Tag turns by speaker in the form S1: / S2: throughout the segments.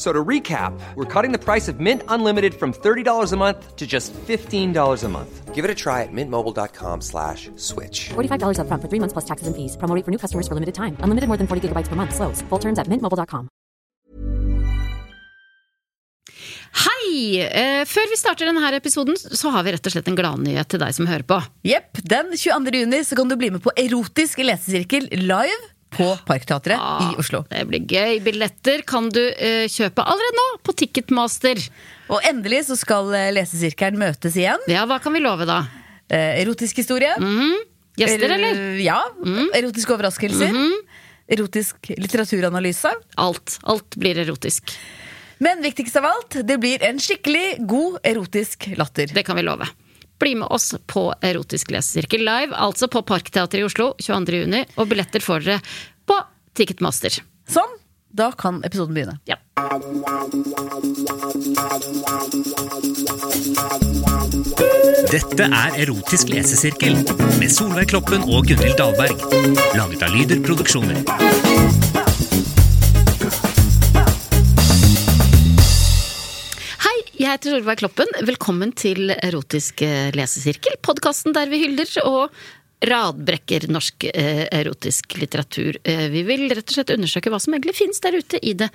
S1: So to recap, we're cutting the price of Mint Unlimited from $30 a month to just $15 a month. Give it a try at mintmobile.com slash switch.
S2: $45 up front for three months plus taxes and fees. Promote for new customers for limited time. Unlimited more than 40 gigabytes per month. Slows. Full terms at mintmobile.com.
S3: Hei! Eh, Før vi starter denne her episoden, så har vi rett og slett en gladnyhet til deg som hører på.
S4: Jepp, den 22. juni så kan du bli med på erotisk lesesirkel live på Parkteatret i Oslo.
S3: Det blir gøy. Billetter kan du eh, kjøpe allerede nå på Ticketmaster.
S4: Og endelig så skal eh, lesesirkelen møtes igjen.
S3: Ja, hva kan vi love, da?
S4: Eh, erotisk historie.
S3: Mm, Gjester, eller? Mm. Mm-hmm.
S4: Ja. Erotiske overraskelser. Erotisk litteraturanalyse.
S3: Alt. Alt blir erotisk.
S4: Men viktigst av alt, det blir en skikkelig god erotisk latter.
S3: Det kan vi love. Bli med oss på Erotisk lesesirkel live, altså på Parkteatret i Oslo 22. juni. Og billetter får dere på Ticketmaster.
S4: Sånn, da kan episoden begynne.
S3: Ja.
S5: Dette er Erotisk lesesirkel med Solveig Kloppen og Gunhild Dahlberg. Laget av Lyder Produksjoner.
S3: Hei, jeg heter Solveig Kloppen. Velkommen til Erotisk eh, lesesirkel, podkasten der vi hyller og radbrekker norsk eh, erotisk litteratur. Eh, Vi vil rett og slett undersøke hva som egentlig finnes der ute i det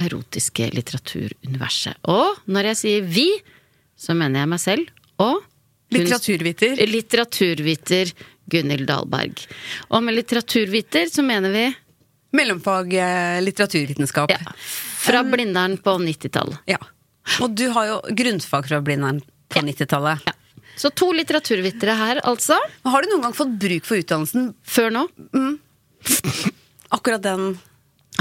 S3: erotiske litteraturuniverset. Og når jeg sier vi, så mener jeg meg selv og kunst-
S4: Litteraturviter.
S3: litteraturviter Gunhild Dahlberg. Og med litteraturviter så mener vi
S6: Mellomfag eh, litteraturvitenskap.
S3: ja, fra Blindern på 90-tallet.
S6: Ja. Og du har jo grunnfag fra Blindern på 90-tallet.
S3: Ja. Så to litteraturvitere her, altså.
S6: Men Har du noen gang fått bruk for utdannelsen?
S3: Før nå.
S6: Akkurat den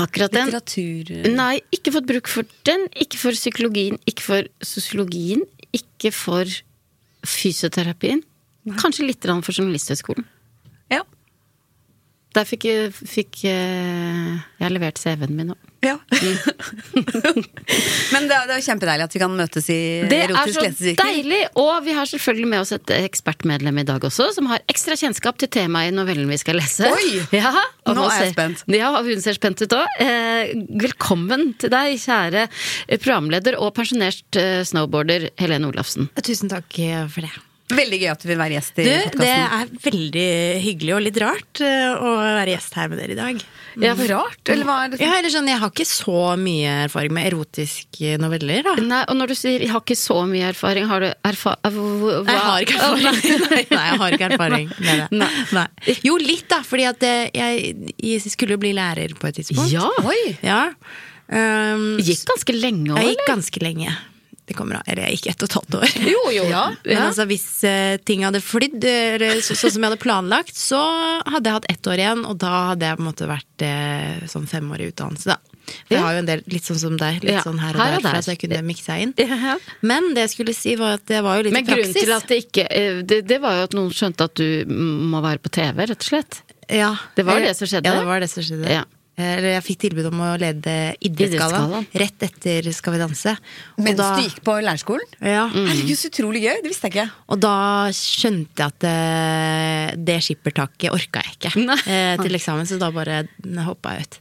S3: Akkurat den.
S6: litteratur...
S3: Nei, ikke fått bruk for den. Ikke for psykologien, ikke for sosiologien, ikke for fysioterapien. Kanskje litt grann for Journalisthøgskolen.
S6: Ja.
S3: Der fikk, jeg- fikk eh, jeg levert CV-en min nå.
S6: ja. Men det er, det er jo kjempedeilig at vi kan møtes i
S4: eh,
S3: Det er
S6: erotisk
S3: så
S6: lesesirkel.
S3: deilig! Og vi har selvfølgelig med oss et ekspertmedlem i dag også, som har ekstra kjennskap til temaet i novellen vi skal lese.
S6: Oi!
S3: Ja, og
S6: Nå er jeg
S3: ser-
S6: spent.
S3: Ja, og hun ser spent ut òg. Eh, velkommen til deg, kjære eh, programleder og pensjonert eh, snowboarder Helene Olafsen.
S7: Tusen takk eh, for det.
S6: Veldig gøy at du vil være gjest i
S7: Du, det
S6: podkasten.
S7: er veldig hyggelig og litt rart eh, å være gjest her med dere i dag.
S3: Ja,
S6: Rart, eller hva er det?
S7: Ja, eller sånn, jeg har ikke så mye erfaring med erotiske noveller, da.
S3: Nei, og når du sier 'jeg har ikke så mye erfaring', har du erfaring
S7: Nei, Jeg har ikke erfaring. Nei, nei, jeg har ikke erfaring med det.
S3: Nei.
S7: Nei. Jo, litt, da. Fordi at eh, jeg, jeg skulle bli lærer på et tidspunkt.
S3: Ja!
S7: Ja. Um,
S3: Det gikk ganske lenge òg,
S7: Jeg gikk
S3: eller?
S7: ganske lenge. Det kommer av, Eller jeg gikk ett og et halvt år.
S3: jo.
S7: Ja. Men
S3: Ja.
S7: altså, hvis eh, ting hadde flydd eller så- sånn som jeg hadde planlagt, så hadde jeg hatt ett år igjen, og da hadde jeg på en måte vært eh, sånn femårig utdannelse, da. For jeg
S3: Ja.
S7: har jo en del litt sånn som deg, litt
S3: Ja,
S7: sånn her og
S3: her
S7: der,
S3: og der.
S7: for at jeg kunne mikse inn.
S3: Ja.
S7: Men det jeg skulle si, var at det var jo litt
S3: Men
S7: i praksis.
S3: grunnen til at det ikke eh, det, det var jo at noen skjønte at du må være på TV, rett og slett.
S7: Ja.
S3: Det var det som skjedde.
S7: Ja, det var det som skjedde.
S3: Ja.
S7: Eller jeg fikk tilbud om å lede Idrettsgallaen
S3: Idrettsgallaen.
S7: rett etter Skal vi danse. Og
S6: Mens
S7: da-
S6: du gikk på lærerskolen?
S7: ja.
S3: Mm.
S6: Herregud, så utrolig gøy! Det visste jeg ikke.
S7: Og da skjønte jeg at eh, det skippertaket orka jeg ikke eh, til eksamen, så da bare hoppa jeg ut.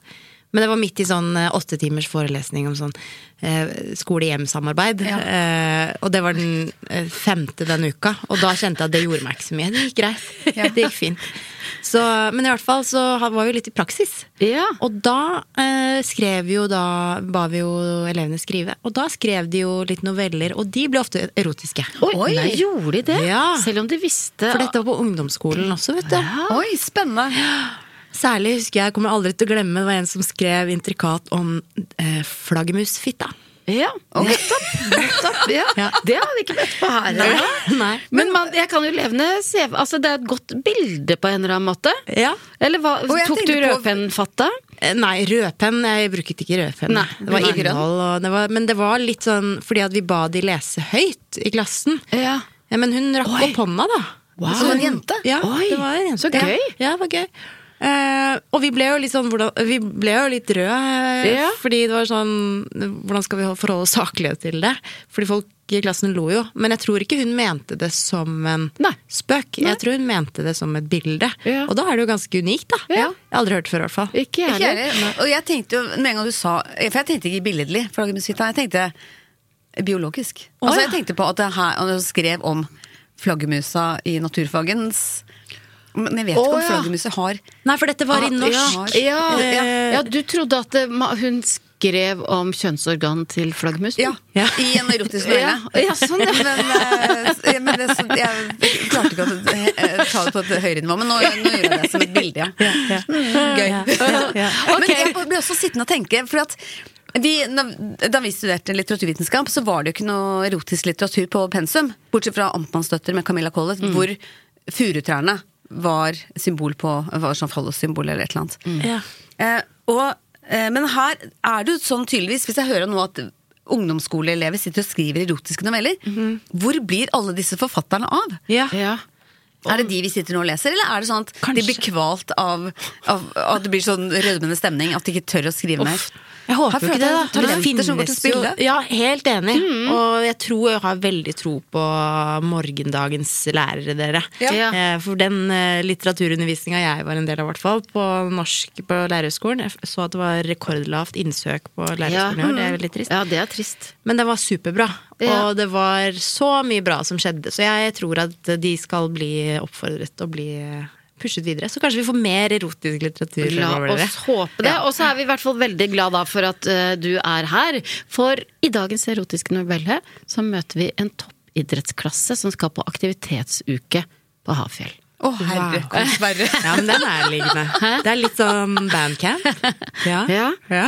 S7: Men det var midt i sånn eh, åtte timers forelesning om sånn eh, skole-hjem-samarbeid. Eh, og det var den eh, femte den uka, og da kjente jeg at det gjorde meg ikke så mye. Det gikk greit. Det gikk fint. Så, men i hvert fall så ha- var jo litt i praksis.
S3: Ja.
S7: Og da eh, skrev jo da ba vi jo elevene skrive. Og da skrev de jo litt noveller, og de ble ofte erotiske.
S3: Oi, gjorde de det?
S7: Ja.
S3: Selv om de visste
S7: For dette var på ungdomsskolen også, vet du.
S6: Oi, spennende!
S7: Særlig husker jeg, jeg kommer aldri til å glemme, det var en som skrev intrikat om eh, flaggermusfitta.
S3: Ja, nettopp. nettopp ja.
S7: Ja.
S3: Det har vi ikke møtt på her.
S7: Nei.
S3: Men man, jeg kan jo levende se altså Det er et godt bilde på en eller annen måte.
S7: Ja.
S3: Eller hva,
S4: jeg
S3: tok du
S4: tenkte på-
S3: rødpennfatta?
S7: Eh, Nei, rødpenn. Jeg brukte ikke rødpenn.
S3: Nei,
S7: det var
S3: nei.
S7: innhold og det var, Men det var litt sånn fordi at vi ba de lese høyt i klassen.
S3: Ja.
S7: Ja, Men hun rakk
S3: Oi.
S7: opp hånda, da.
S3: Wow.
S4: Så en jente?
S7: Ja,
S3: Oi,
S7: det var en jente.
S3: så gøy.
S7: Ja, ja det var gøy. Eh, og vi ble jo litt sånn hvordan, Vi ble jo litt røde, eh,
S3: Ja.
S7: fordi det var sånn Hvordan skal vi forholde oss saklige til det? Fordi folk i klassen lo jo. Men jeg tror ikke hun mente det som en
S3: Nei.
S7: spøk.
S3: Nei.
S7: Jeg tror hun mente det som et bilde.
S3: Ja.
S7: Og da er det jo ganske unikt, da.
S3: Ja.
S7: Jeg har aldri hørt det før, i hvert fall.
S3: Ikke jeg
S4: Ikke jeg
S3: heller.
S4: heller. Og jeg tenkte jo, med en gang du sa For jeg tenkte ikke billedlig, flaggermusfitta. Jeg tenkte biologisk. Altså,
S3: ja.
S4: Jeg tenkte på at det her, og jeg skrev om flaggermusa i naturfagens Men jeg vet
S3: Å,
S4: ikke om
S3: ja.
S4: flaggermuser har
S7: Nei, for dette var i
S4: Ah,
S7: norsk.
S4: norsk.
S3: Ja, ja.
S7: Eh.
S3: ja, du trodde at det, ma- hun skrev om kjønnsorgan til flaggermusen?
S4: ja,
S7: Ja.
S4: I en erotisk novelle.
S3: Ja, ja, sånn, ja.
S4: Men, eh, s- ja, men det, så, jeg klarte ikke å eh, ta det på et høyere nivå, men nå, nå gjør jeg det som et bilde. Ja. Mm, gøy. Men jeg ble også sittende og tenke, for at vi, da- da vi studerte litteraturvitenskap, så var det jo ikke noe erotisk litteratur på pensum. Bortsett fra Amtmannsdøtter med Camilla Collett,
S3: Mm.
S4: hvor furutrærne var symbol på Var sånn fallossymbol eller et eller
S3: Mm.
S4: annet.
S7: Ja.
S4: Eh, og, eh, men her er det jo sånn tydeligvis, hvis jeg hører nå at ungdomsskoleelever sitter og skriver erotiske noveller, hvor blir alle disse forfatterne av?
S7: Mhm. Ja.
S3: Ja.
S4: Er det de vi sitter nå og leser, eller er det sånn at de
S7: Kanskje.
S4: blir kvalt av, av at det blir sånn rødmende stemning, at de ikke tør å skrive mer?
S7: Jeg håper
S4: Her
S7: jo
S4: føler
S7: ikke det,
S4: jeg
S7: da.
S4: at talenter som går til spille.
S7: Ja, helt enig.
S3: Mm.
S7: Og jeg tror jeg har veldig tro på morgendagens lærere, dere.
S4: Ja.
S3: Ja.
S7: Eh, For den litteraturundervisninga jeg var en del av, i hvert fall, på norsk på lærerhøgskolen, jeg så at det var rekordlavt innsøk på lærerhøgskolen i år. Det er veldig trist.
S3: Ja, det er trist.
S7: Men den var superbra,
S3: Ja.
S7: og det var så mye bra som skjedde. Så jeg tror at de skal bli oppfordret og bli eh, pushet videre. Så kanskje vi får mer erotisk litteratur.
S3: La
S7: fremover, dere.
S3: oss håpe det. Og så er vi i hvert fall veldig glad da for at eh, du er her. For i dagens erotiske novelle så møter vi en toppidrettsklasse som skal på aktivitetsuke på Hafjell.
S4: Å, herre,
S7: Wow.
S4: Kongsberg.
S7: Ja, men det er nærliggende. Det er litt sånn bandcamp. Ja.
S3: Ja.
S7: Ja.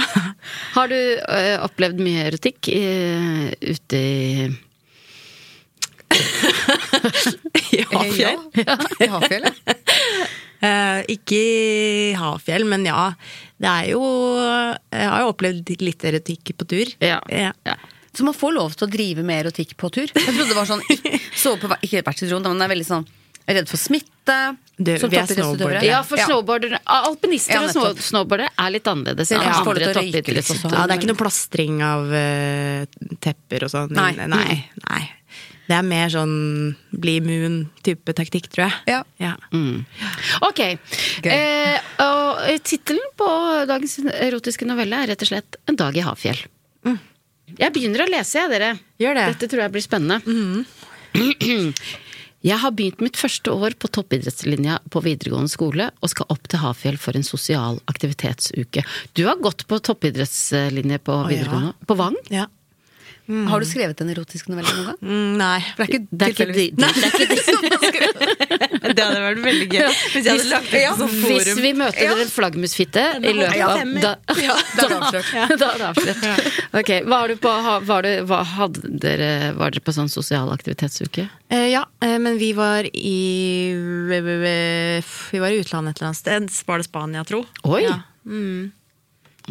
S3: Har du eh, opplevd mye erotikk eh, ute i
S4: Hafjell? I Hafjell, ja.
S7: Eh, ikke i Hafjell, men ja. Det er jo Jeg har jo opplevd litt erotikk på tur.
S3: Ja.
S7: Ja.
S3: Ja.
S4: Så man får lov til å drive med erotikk på tur? Jeg trodde det var sånn sove på hver- Ikke hvert sitt rom, da, men det er veldig sånn redd for smitte.
S7: Du,
S4: som
S7: vi er
S4: toppidrettsutøvere.
S7: snowboardere.
S3: Ja, for snowboardere Alpinister
S4: Ja,
S3: og snow-
S4: nettopp.
S3: snowboardere er litt annerledes enn
S4: Dere kanskje får
S3: andre
S4: lov til å røyke litt også.
S7: Ja,
S3: toppidrettsutøvere.
S7: det er ikke noe plastring av eh, tepper og sånn.
S4: Nei.
S7: nei. nei. Det er mer sånn bli moon-type taktikk, tror jeg.
S4: Ja.
S7: Mm.
S3: Ok. Eh, og eh, tittelen på dagens erotiske novelle er rett og slett 'En dag i Hafjell'. Jeg begynner å lese, jeg, dere.
S7: Mm. Gjør det. Mm.
S3: Dette tror jeg blir spennende. Jeg har begynt mitt første år på toppidrettslinja på videregående skole og skal opp til Hafjell for en sosial aktivitetsuke. Du har gått på toppidrettslinje på
S7: ja.
S3: videregående? På Vang?
S7: Ja.
S4: Mm. Har du skrevet en erotisk novelle noen gang?
S7: Mm, nei.
S4: For det er ikke
S3: Det er ikke
S4: tilfeldigvis-
S3: de- det er ikke de-
S7: Det hadde vært veldig gøy hvis jeg hadde lagt ut som
S3: Hvis vi møter dere en flaggermusfitte i løpet
S7: Sånn Ja,
S3: av
S7: stemmer.
S3: da,
S7: Ja,
S4: da er det
S3: da-
S4: avslørt.
S3: da er det avslørt. Ok, var du på ha- var du, hva hadde dere, var dere på sånn sosial aktivitetsuke?
S7: Eh, Ja, eh, men vi var i eh, Vi var i utlandet et eller annet sted. Var det Spania, tro?
S3: Oi!
S7: Ja.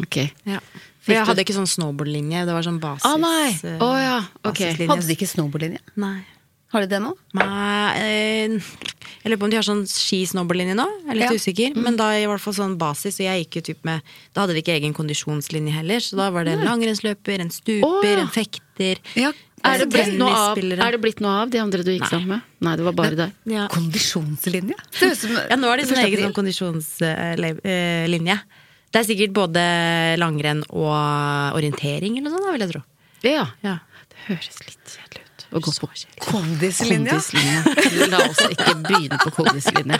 S3: Ok.
S7: ja.
S3: Fikk
S7: For jeg
S3: du-
S7: hadde ikke sånn snowboardlinje. Det var sånn basis.
S3: Ah, nei!
S7: eh,
S3: Å ja, ok.
S7: basislinje.
S4: Hadde de ikke snowboardlinje?
S7: Nei.
S4: Har de det nå?
S7: Nei, eh, Jeg lurer på om de har sånn ski-snowboardlinje nå. Jeg er litt
S4: Ja.
S7: usikker.
S3: Mm.
S7: Men da i hvert fall sånn basis, og jeg gikk jo typ med Da hadde vi ikke egen kondisjonslinje heller, så da var det en langrennsløper, en stuper,
S3: Å, ja.
S7: en fekter.
S4: Ja.
S3: Er det, blitt noe av,
S7: Tennisspillere.
S3: er det blitt noe av de andre du gikk sammen med? Nei, det var bare deg.
S7: Ja.
S4: Kondisjonslinje?
S7: Ja, nå er det sånn egen sånn
S4: sånn
S7: kondisjonslinje. eh, Det er sikkert både langrenn og orientering eller noe sånt, da, vil jeg tro.
S3: Ja.
S7: Ja.
S3: Det høres litt kjedelig ut. Å gå på
S4: Kondislinja?
S3: kondislinja. La oss ikke begynne på kondislinja.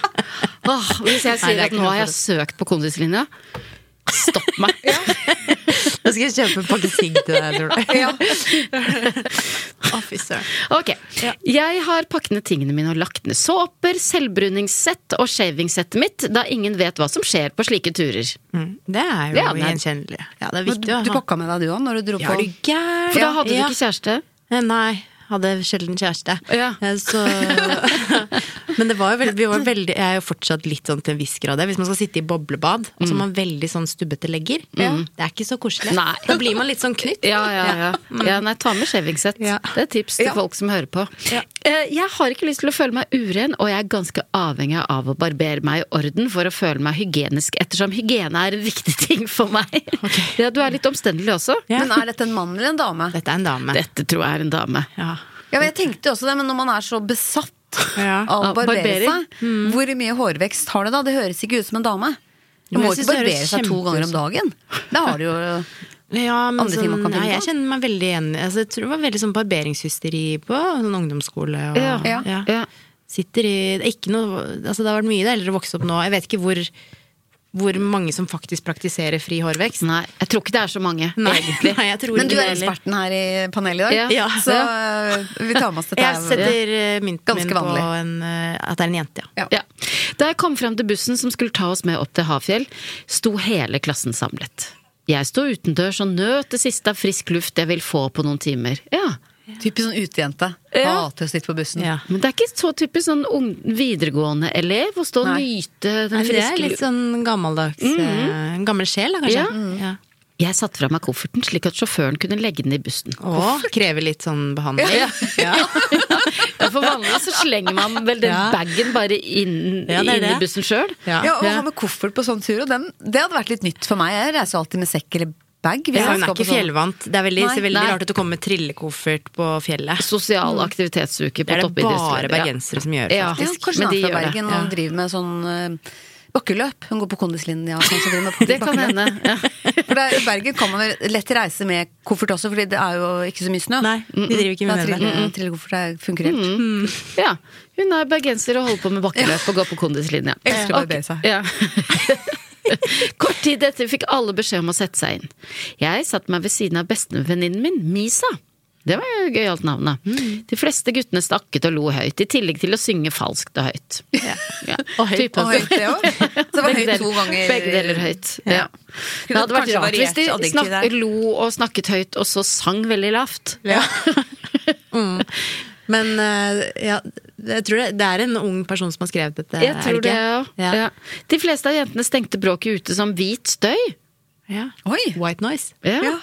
S3: Åh, hvis jeg
S7: Nei, det
S3: sier
S7: er
S3: at
S7: ikke
S3: nå
S7: noe
S3: har jeg
S7: for
S3: søkt på kondislinja Stopp meg.
S7: Nå skal jeg kjøpe en pakke sigg til deg, tror du.
S3: Ja.
S7: Å, fy søren.
S3: Ok. Jeg har pakket ned tingene mine og lagt ned såper, selvbruningssett og shavingsettet mitt, da ingen vet hva som skjer på slike turer.
S7: Mm, Det er jo
S3: Ja, det er-
S7: gjenkjennelig. Ja, det
S4: Men
S7: er
S4: Du,
S7: viktig å
S4: du
S7: ha.
S4: pakka med deg du òg når du dro
S7: Ja,
S4: på
S7: er du gæren?
S3: For da hadde
S7: Ja.
S3: du ikke kjæreste.
S7: Eh, Nei, hadde sjelden kjæreste.
S3: Ja.
S7: Eh, Så, men det var jo veldig, vi var veldig Jeg er jo fortsatt litt sånn til en viss grad der. Hvis man skal sitte i boblebad,
S3: Mm.
S7: og så har man veldig sånn stubbete legger, Mm. det er ikke så koselig.
S3: Nei.
S7: Da blir man litt sånn knytt.
S3: Ja, ja, ja. ja nei, ta med shavingset.
S7: Ja.
S3: Det er et tips til folk som hører på. Eh, Jeg har ikke lyst til å føle meg uren, og jeg er ganske avhengig av å barbere meg i orden for å føle meg hygienisk, ettersom hygiene er en viktig ting for meg. Ja, du er litt omstendelig også.
S7: Ja.
S4: Men er dette en mann eller en dame?
S7: Dette er en dame.
S3: Dette tror jeg er en dame.
S7: Ja.
S4: Ja, men jeg tenkte også det, men når man er så besatt
S7: Ja.
S4: av å
S3: Av
S4: barbere
S3: barbering.
S4: seg, hvor mye hårvekst har det da? Det høres ikke ut som en dame.
S7: Jo,
S4: Man må ikke
S7: jeg synes det
S4: barbere
S7: høres
S4: seg to
S7: kjempe-
S4: ganger om dagen. Det har du jo
S7: Ja, men
S4: Andre ting man kan
S7: sånn, nei,
S4: begynne
S7: jeg
S4: på.
S7: kjenner meg veldig igjen altså, Jeg tror det var veldig sånn barberingshysteri på sånn ungdomsskole. Og,
S3: Ja,
S4: ja,
S3: ja.
S7: Sitter i det er ikke noe, altså, Det har vært mye deiligere å vokse opp nå. Jeg vet ikke hvor, hvor mange som faktisk praktiserer fri hårvekst.
S3: Nei, jeg tror ikke det er så mange,
S7: Nei,
S3: egentlig.
S7: nei, jeg tror
S4: Men du
S7: ikke
S4: er
S7: det heller.
S4: eksperten her i panelet i
S3: Ja.
S4: dag,
S7: Ja.
S4: så øh, vi tar med oss dette.
S7: Jeg
S4: her.
S7: setter eh, mynten
S4: Ganske
S7: min på
S4: vanlig.
S7: en, eh, at det er en jente, ja.
S4: Ja.
S3: Ja. Da jeg kom frem til bussen som skulle ta oss med opp til Hafjell, sto hele klassen samlet. Jeg sto utendørs og nøt det siste av frisk luft jeg vil få på noen timer. Ja,
S4: Typisk sånn utejente.
S3: Ja.
S4: Hater å sitte på bussen.
S7: ja.
S3: Men det er ikke så typisk sånn ung, videregående elev å stå og nyte den
S7: Nei, for det er
S3: friske
S7: litt
S3: luften.
S7: sånn gammeldags eh, En gammel sjel, da, kanskje. Mm.
S3: Ja.
S7: Ja.
S3: Jeg satte fra meg kofferten slik at sjåføren kunne legge den i bussen.
S7: Og krever litt sånn behandling. Ja, ja.
S3: Ja, For vanligvis så slenger man vel den
S7: Ja.
S3: bagen bare inn,
S7: Ja, det er
S3: inn i
S7: det.
S3: bussen sjøl.
S7: Ja.
S4: Ja, og å ha med koffert på sånn tur, og den, det hadde vært litt nytt for meg. Jeg reiser jo alltid med sekk eller bag. hvis jeg
S7: hun er
S4: skal
S7: ikke
S4: på sånn-
S7: fjellvant. Det er veldig,
S4: Nei.
S7: ser veldig
S3: Nei.
S7: rart ut å komme med trillekoffert på fjellet.
S3: Sosial aktivitetsuke på
S7: Det er det
S3: toppidrettsklubber.
S7: bare bergensere som gjør,
S3: Ja.
S4: Ja,
S3: faktisk.
S4: kanskje
S3: men
S4: hun
S3: de
S4: er
S3: gjør
S4: fra
S3: det.
S4: Bergen og driver med sånn øh, bakkeløp. Hun går på kondislinja. kanskje driver med
S3: Det kan hende. Ja.
S4: For der, I Bergen kan man vel lett reise med koffert også, fordi det er jo ikke så mye snø.
S7: Nei, de driver ikke med
S4: Da
S7: det.
S4: triller- Trillekoffert er- funker helt.
S3: Ja, hun er bergenser og holder på med bakkeløp og går på kondislinja.
S4: Elsker å
S3: Ok,
S4: barbere seg.
S3: ja. Kort tid etter fikk alle beskjed om å sette seg inn. Jeg satte meg ved siden av bestevenninnen min, Misa. Det var jo gøyalt navn, da.
S4: Mm.
S3: De fleste guttene stakket og lo høyt, i tillegg til å synge falskt og høyt. Ja. Type.
S4: Og høyt det òg. Så det var
S3: Begge
S4: høyt to
S3: deler-
S4: ganger.
S3: Begge deler høyt. Ja. Det hadde vært
S4: Kanskje
S3: rart hvis de
S4: variert adjektiv
S3: snak,
S4: der.
S3: lo og snakket høyt, og så sang veldig lavt.
S7: Ja. mm. Men eh, ja, jeg tror det, det er en ung person som har skrevet dette.
S3: Jeg
S7: Eh, er
S3: tror det,
S7: ikke?
S3: ja. ja. De fleste av jentene stengte bråket ute som hvit støy.
S7: Ja.
S4: Oi!
S7: White noise.
S3: Ja.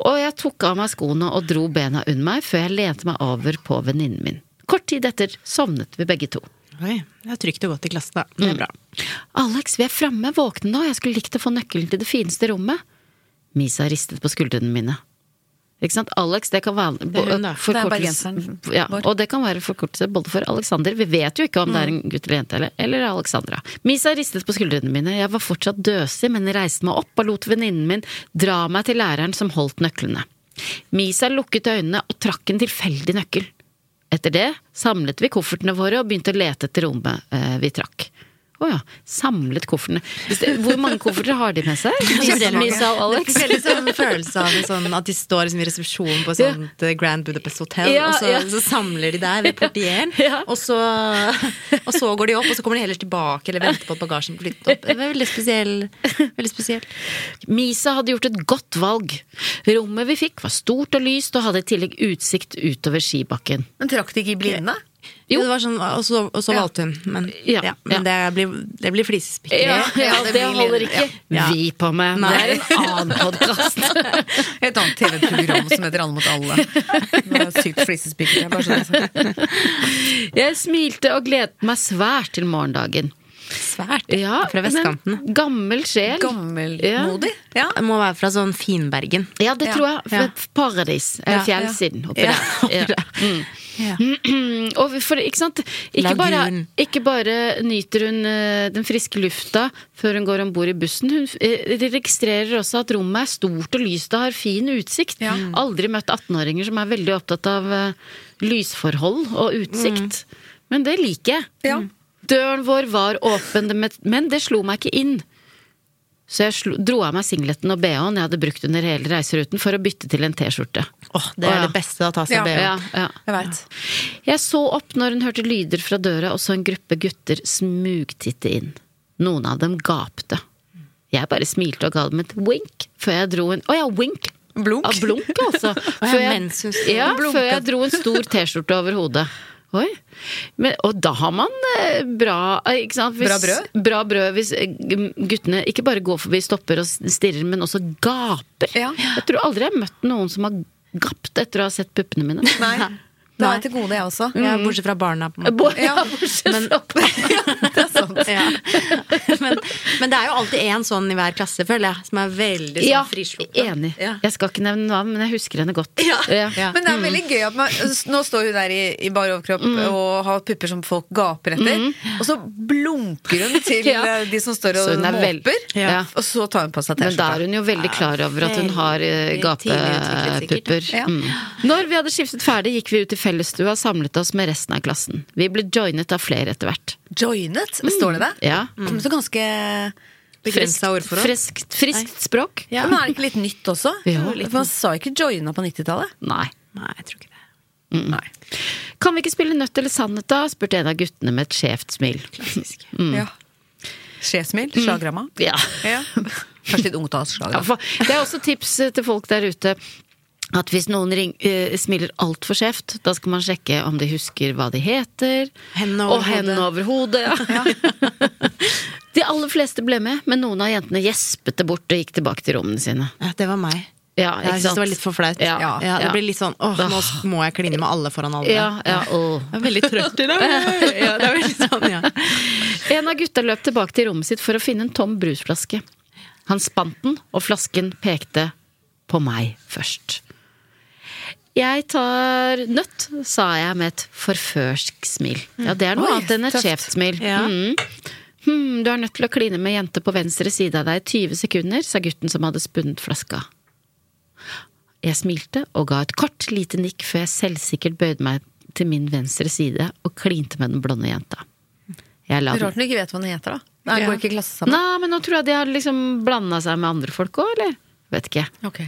S3: Og jeg tok av meg skoene og dro bena under meg før jeg lente meg over på venninnen min. Kort tid etter sovnet vi begge to.
S7: Oi, det er trygt og godt i klassen, da. Det er bra.
S3: Alex, vi er framme, våkne nå, jeg skulle likt å få nøkkelen til det fineste rommet. Misa ristet på skuldrene mine. Ikke sant? Alex, det kan være
S7: Det er hun, da.
S4: Det er
S3: forkortelse
S4: bergenseren
S3: Mhm. ja,
S4: vår.
S3: Og det kan være forkortelse både for Alexander Vi vet jo ikke om det er en gutt eller jente, eller, eller Alexandra. Misa ristet på skuldrene mine. Jeg var fortsatt døsig, men reiste meg opp og lot venninnen min dra meg til læreren som holdt nøklene. Misa lukket øynene og trakk en tilfeldig nøkkel. Etter det samlet vi koffertene våre og begynte å lete etter rommet eh, vi trakk. Å ja. Samlet koffertene. Hvis det- Hvor mange kofferter har de med seg? Misa og Alex?
S7: Veldig sånn følelse av en sånn, at de står liksom i resepsjonen på et
S3: Ja.
S7: sånt eh, Grand Budapest Hotel,
S3: Ja,
S7: og så,
S3: ja.
S7: så samler de der ved portieren,
S3: Ja.
S7: og, så, og så går de opp, og så kommer de heller tilbake eller venter på at bagasjen blir flyttet opp. Det var veldig spesiell. Veldig spesiell.
S3: Misa hadde gjort et godt valg. Rommet vi fikk var stort og lyst og hadde i tillegg utsikt utover skibakken.
S4: Men trakk de ikke i blinde?
S3: Jo.
S7: Det var sånn, og så, og så valgte hun, men,
S3: Ja.
S7: ja.
S3: Ja.
S7: men det blir, det blir flisespikkeri.
S3: Ja,
S4: ja,
S3: det,
S4: det blir
S3: holder
S4: litt-
S3: ikke
S7: ja.
S3: vi på med.
S7: Nei.
S3: Det er en annen podkast.
S4: Et annet TV-program som heter Alle mot alle. Det er Sykt flisespikkeri. bare sånn jeg sa.
S3: Jeg smilte og gledet meg svært til morgendagen.
S7: Svært.
S3: Ja,
S7: fra vestkanten.
S3: men Gammel sjel.
S4: Gammelmodig. Ja.
S7: Det må være fra sånn Finbergen.
S3: Ja, det
S4: Ja.
S3: tror jeg.
S7: Ja.
S3: F- Paradis. Eller
S7: Ja.
S3: fjellsiden. Oppi
S7: Ja,
S3: der. Ja.
S7: Ja.
S3: Mm. Og for, ikke sant? Ikke bare,
S7: Lagun.
S3: ikke bare nyter hun eh, den friske lufta før hun går om bord i bussen, hun eh, registrerer også at rommet er stort og lyst og har fin utsikt. Mm. Aldri møtt 18-åringer som er veldig opptatt av eh, lysforhold og utsikt. Men det Mm. liker jeg. Døren vår var åpen, men- men det slo meg ikke inn. Så jeg slo, dro av meg singleten og bh-en jeg hadde brukt under hele reiseruten, for å bytte til en T-skjorte.
S7: Åh, det er
S3: Å, ja.
S7: det beste å ta seg
S4: Ja.
S7: BH.
S3: Ja, ja.
S4: Jeg vet.
S3: Jeg så opp når hun hørte lyder fra døra og så en gruppe gutter smugtitte inn. Noen av dem gapte. Jeg bare smilte og ga dem et wink før jeg dro en Å ja, wink!
S4: Blunk.
S3: Ja, blunk, altså.
S7: ja,
S3: Før jeg,
S7: mens hun sto og
S3: ja,
S7: blunket.
S3: før
S4: altså.
S3: jeg dro en stor T-skjorte over hodet. Oi. Men, og da har man eh, bra eh, ikke sant?
S4: Bra brød?
S3: Bra brød hvis eh, guttene ikke bare går forbi, stopper og stirrer, men også gaper.
S4: Ja.
S3: Jeg tror aldri jeg har møtt noen som har gapt etter å ha sett puppene mine.
S4: Nei. Det har jeg til gode, jeg også.
S7: Ja, bortsett fra barna, på en måte.
S3: Bo-
S4: Ja.
S3: ja, bortsett fra
S4: Det er sant.
S7: Ja. men, men det er jo alltid én sånn i hver klasse, føler jeg, som er veldig sånn
S3: Ja,
S7: frisluppen.
S3: enig.
S7: Ja.
S3: Jeg skal ikke nevne navn, men jeg husker henne godt.
S7: Ja.
S3: Ja.
S4: Men det er veldig gøy at man altså, Nå står hun der i, i bar overkropp
S3: Mm.
S4: og har pupper som folk gaper etter. Og så blunker hun til
S3: Ja.
S4: eh, de som står og
S3: Så hun er vel-
S4: måper.
S3: Ja.
S4: Og så tar hun på seg
S3: Men da er
S4: T-skjorta.
S3: hun jo veldig klar over at hun har eh,
S7: Veldig tidlig utviklet, sikkert.
S3: gapepupper.
S4: Ja.
S3: Mm. Når vi hadde skiftet ferdig, gikk vi ut i fellesstua og samlet oss med resten av klassen. Vi ble joinet av flere etter hvert.
S4: Joinet, står det der?
S3: Ja.
S4: Mm. Kommer så ganske
S7: Begrenset
S4: begrensa
S7: ordforråd.
S3: Friskt, friskt språk?
S4: Ja. Men er det ikke litt nytt også?
S3: Jo, litt
S4: For man sa ikke joina på 90-tallet.
S3: Nei.
S7: Nei, jeg tror ikke det.
S3: Mm. Kan vi ikke spille Nødt eller sannhet, da? spurte en av guttene med et skjevt smil.
S4: Ja. Skjesmil, slagramma.
S3: Mm. Ja.
S4: Ja. Kanskje litt ungtalsslag.
S3: Ja, for- Det er også tips eh, til folk der ute. At hvis noen ring, eh, smiler altfor skjevt, da skal man sjekke om de husker hva de heter.
S7: Hendene over
S3: og hendene over hodet. Ja. de aller fleste ble med, men noen av jentene gjespet det bort og gikk tilbake til rommene sine.
S7: Ja, det var meg.
S3: Ja, ikke
S7: jeg syns
S3: sant?
S7: det var litt for flaut.
S3: Ja,
S7: Ja,
S3: ja.
S7: det blir litt sånn åh, nå må jeg kline med alle foran alle.
S3: Ja, ja, åh.
S7: Jeg er veldig trøtt i dag. ja, det er veldig sånn, ja.
S3: En av gutta løp tilbake til rommet sitt for å finne en tom brusflaske. Han spant den, og flasken pekte på meg først. Jeg tar nøtt, sa jeg med et forførsk smil. Ja, det er noe
S4: Oi,
S3: annet enn et
S4: tøft.
S3: skjevt smil.
S7: Ja.
S3: Mm. Hm, du er nødt til å kline med jente på venstre side av deg i 20 sekunder, sa gutten som hadde spunnet flaska. Jeg smilte og ga et kort, lite nikk før jeg selvsikkert bøyde meg til min venstre side og klinte med den blonde jenta. Jeg la den
S4: Rart hun ikke vet hva den heter, da. Nei, Går ikke i klasse sammen.
S3: Nei, men nå tror jeg de har liksom blanda seg med andre folk òg, eller? Vet ikke.
S4: Ok.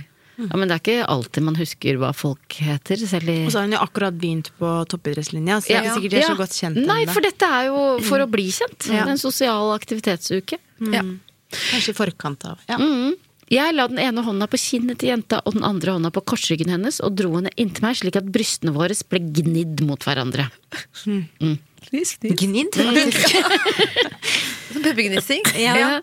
S3: Ja, men det er ikke alltid man husker hva folk heter, selv i
S7: Og så har hun jo akkurat begynt på toppidrettslinja, så det er
S3: Ja.
S7: ikke sikkert de er
S3: Ja.
S7: så godt kjent
S3: Nei,
S7: ennå.
S3: for dette er jo for å bli kjent.
S7: Ja.
S3: En sosial aktivitetsuke.
S4: Ja.
S7: Kanskje i forkant av. Ja.
S3: Jeg la den ene hånda på kinnet til jenta og den andre hånda på korsryggen hennes og dro henne inntil meg slik at brystene våre ble gnidd mot hverandre.
S7: Gnidd, faktisk.
S4: Sånn Puppegnissing.
S7: Ja.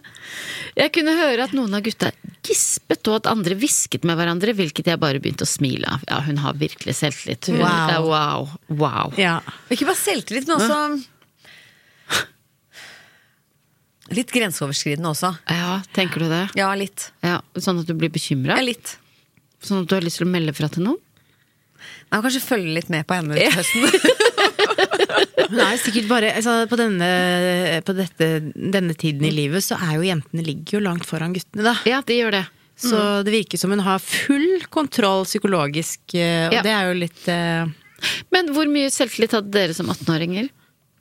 S3: Jeg kunne høre at noen av gutta gispet, og at andre hvisket med hverandre, hvilket jeg bare begynte å smile av. Ja, hun har virkelig selvtillit. Hun-
S7: Wow.
S3: Ja, wow. wow.
S7: Ja.
S4: Ikke bare selvtillit, men også Litt grenseoverskridende også.
S3: Ja, tenker du det?
S4: Ja, litt.
S3: Ja, sånn at du blir bekymra?
S4: Ja, litt.
S3: Sånn at du har lyst til å melde fra til noen?
S4: Nei, kanskje følge litt med på henne til høsten.
S7: Hun er jo sikkert bare altså, På, denne, på dette, denne tiden i livet så er jo jentene ligger jo langt foran guttene, da.
S3: Ja, de gjør det.
S7: Så
S3: Mm.
S7: det virker som hun har full kontroll psykologisk, eh, og
S3: Ja.
S7: det er jo litt eh,
S3: Men hvor mye selvtillit hadde dere som 18-åringer?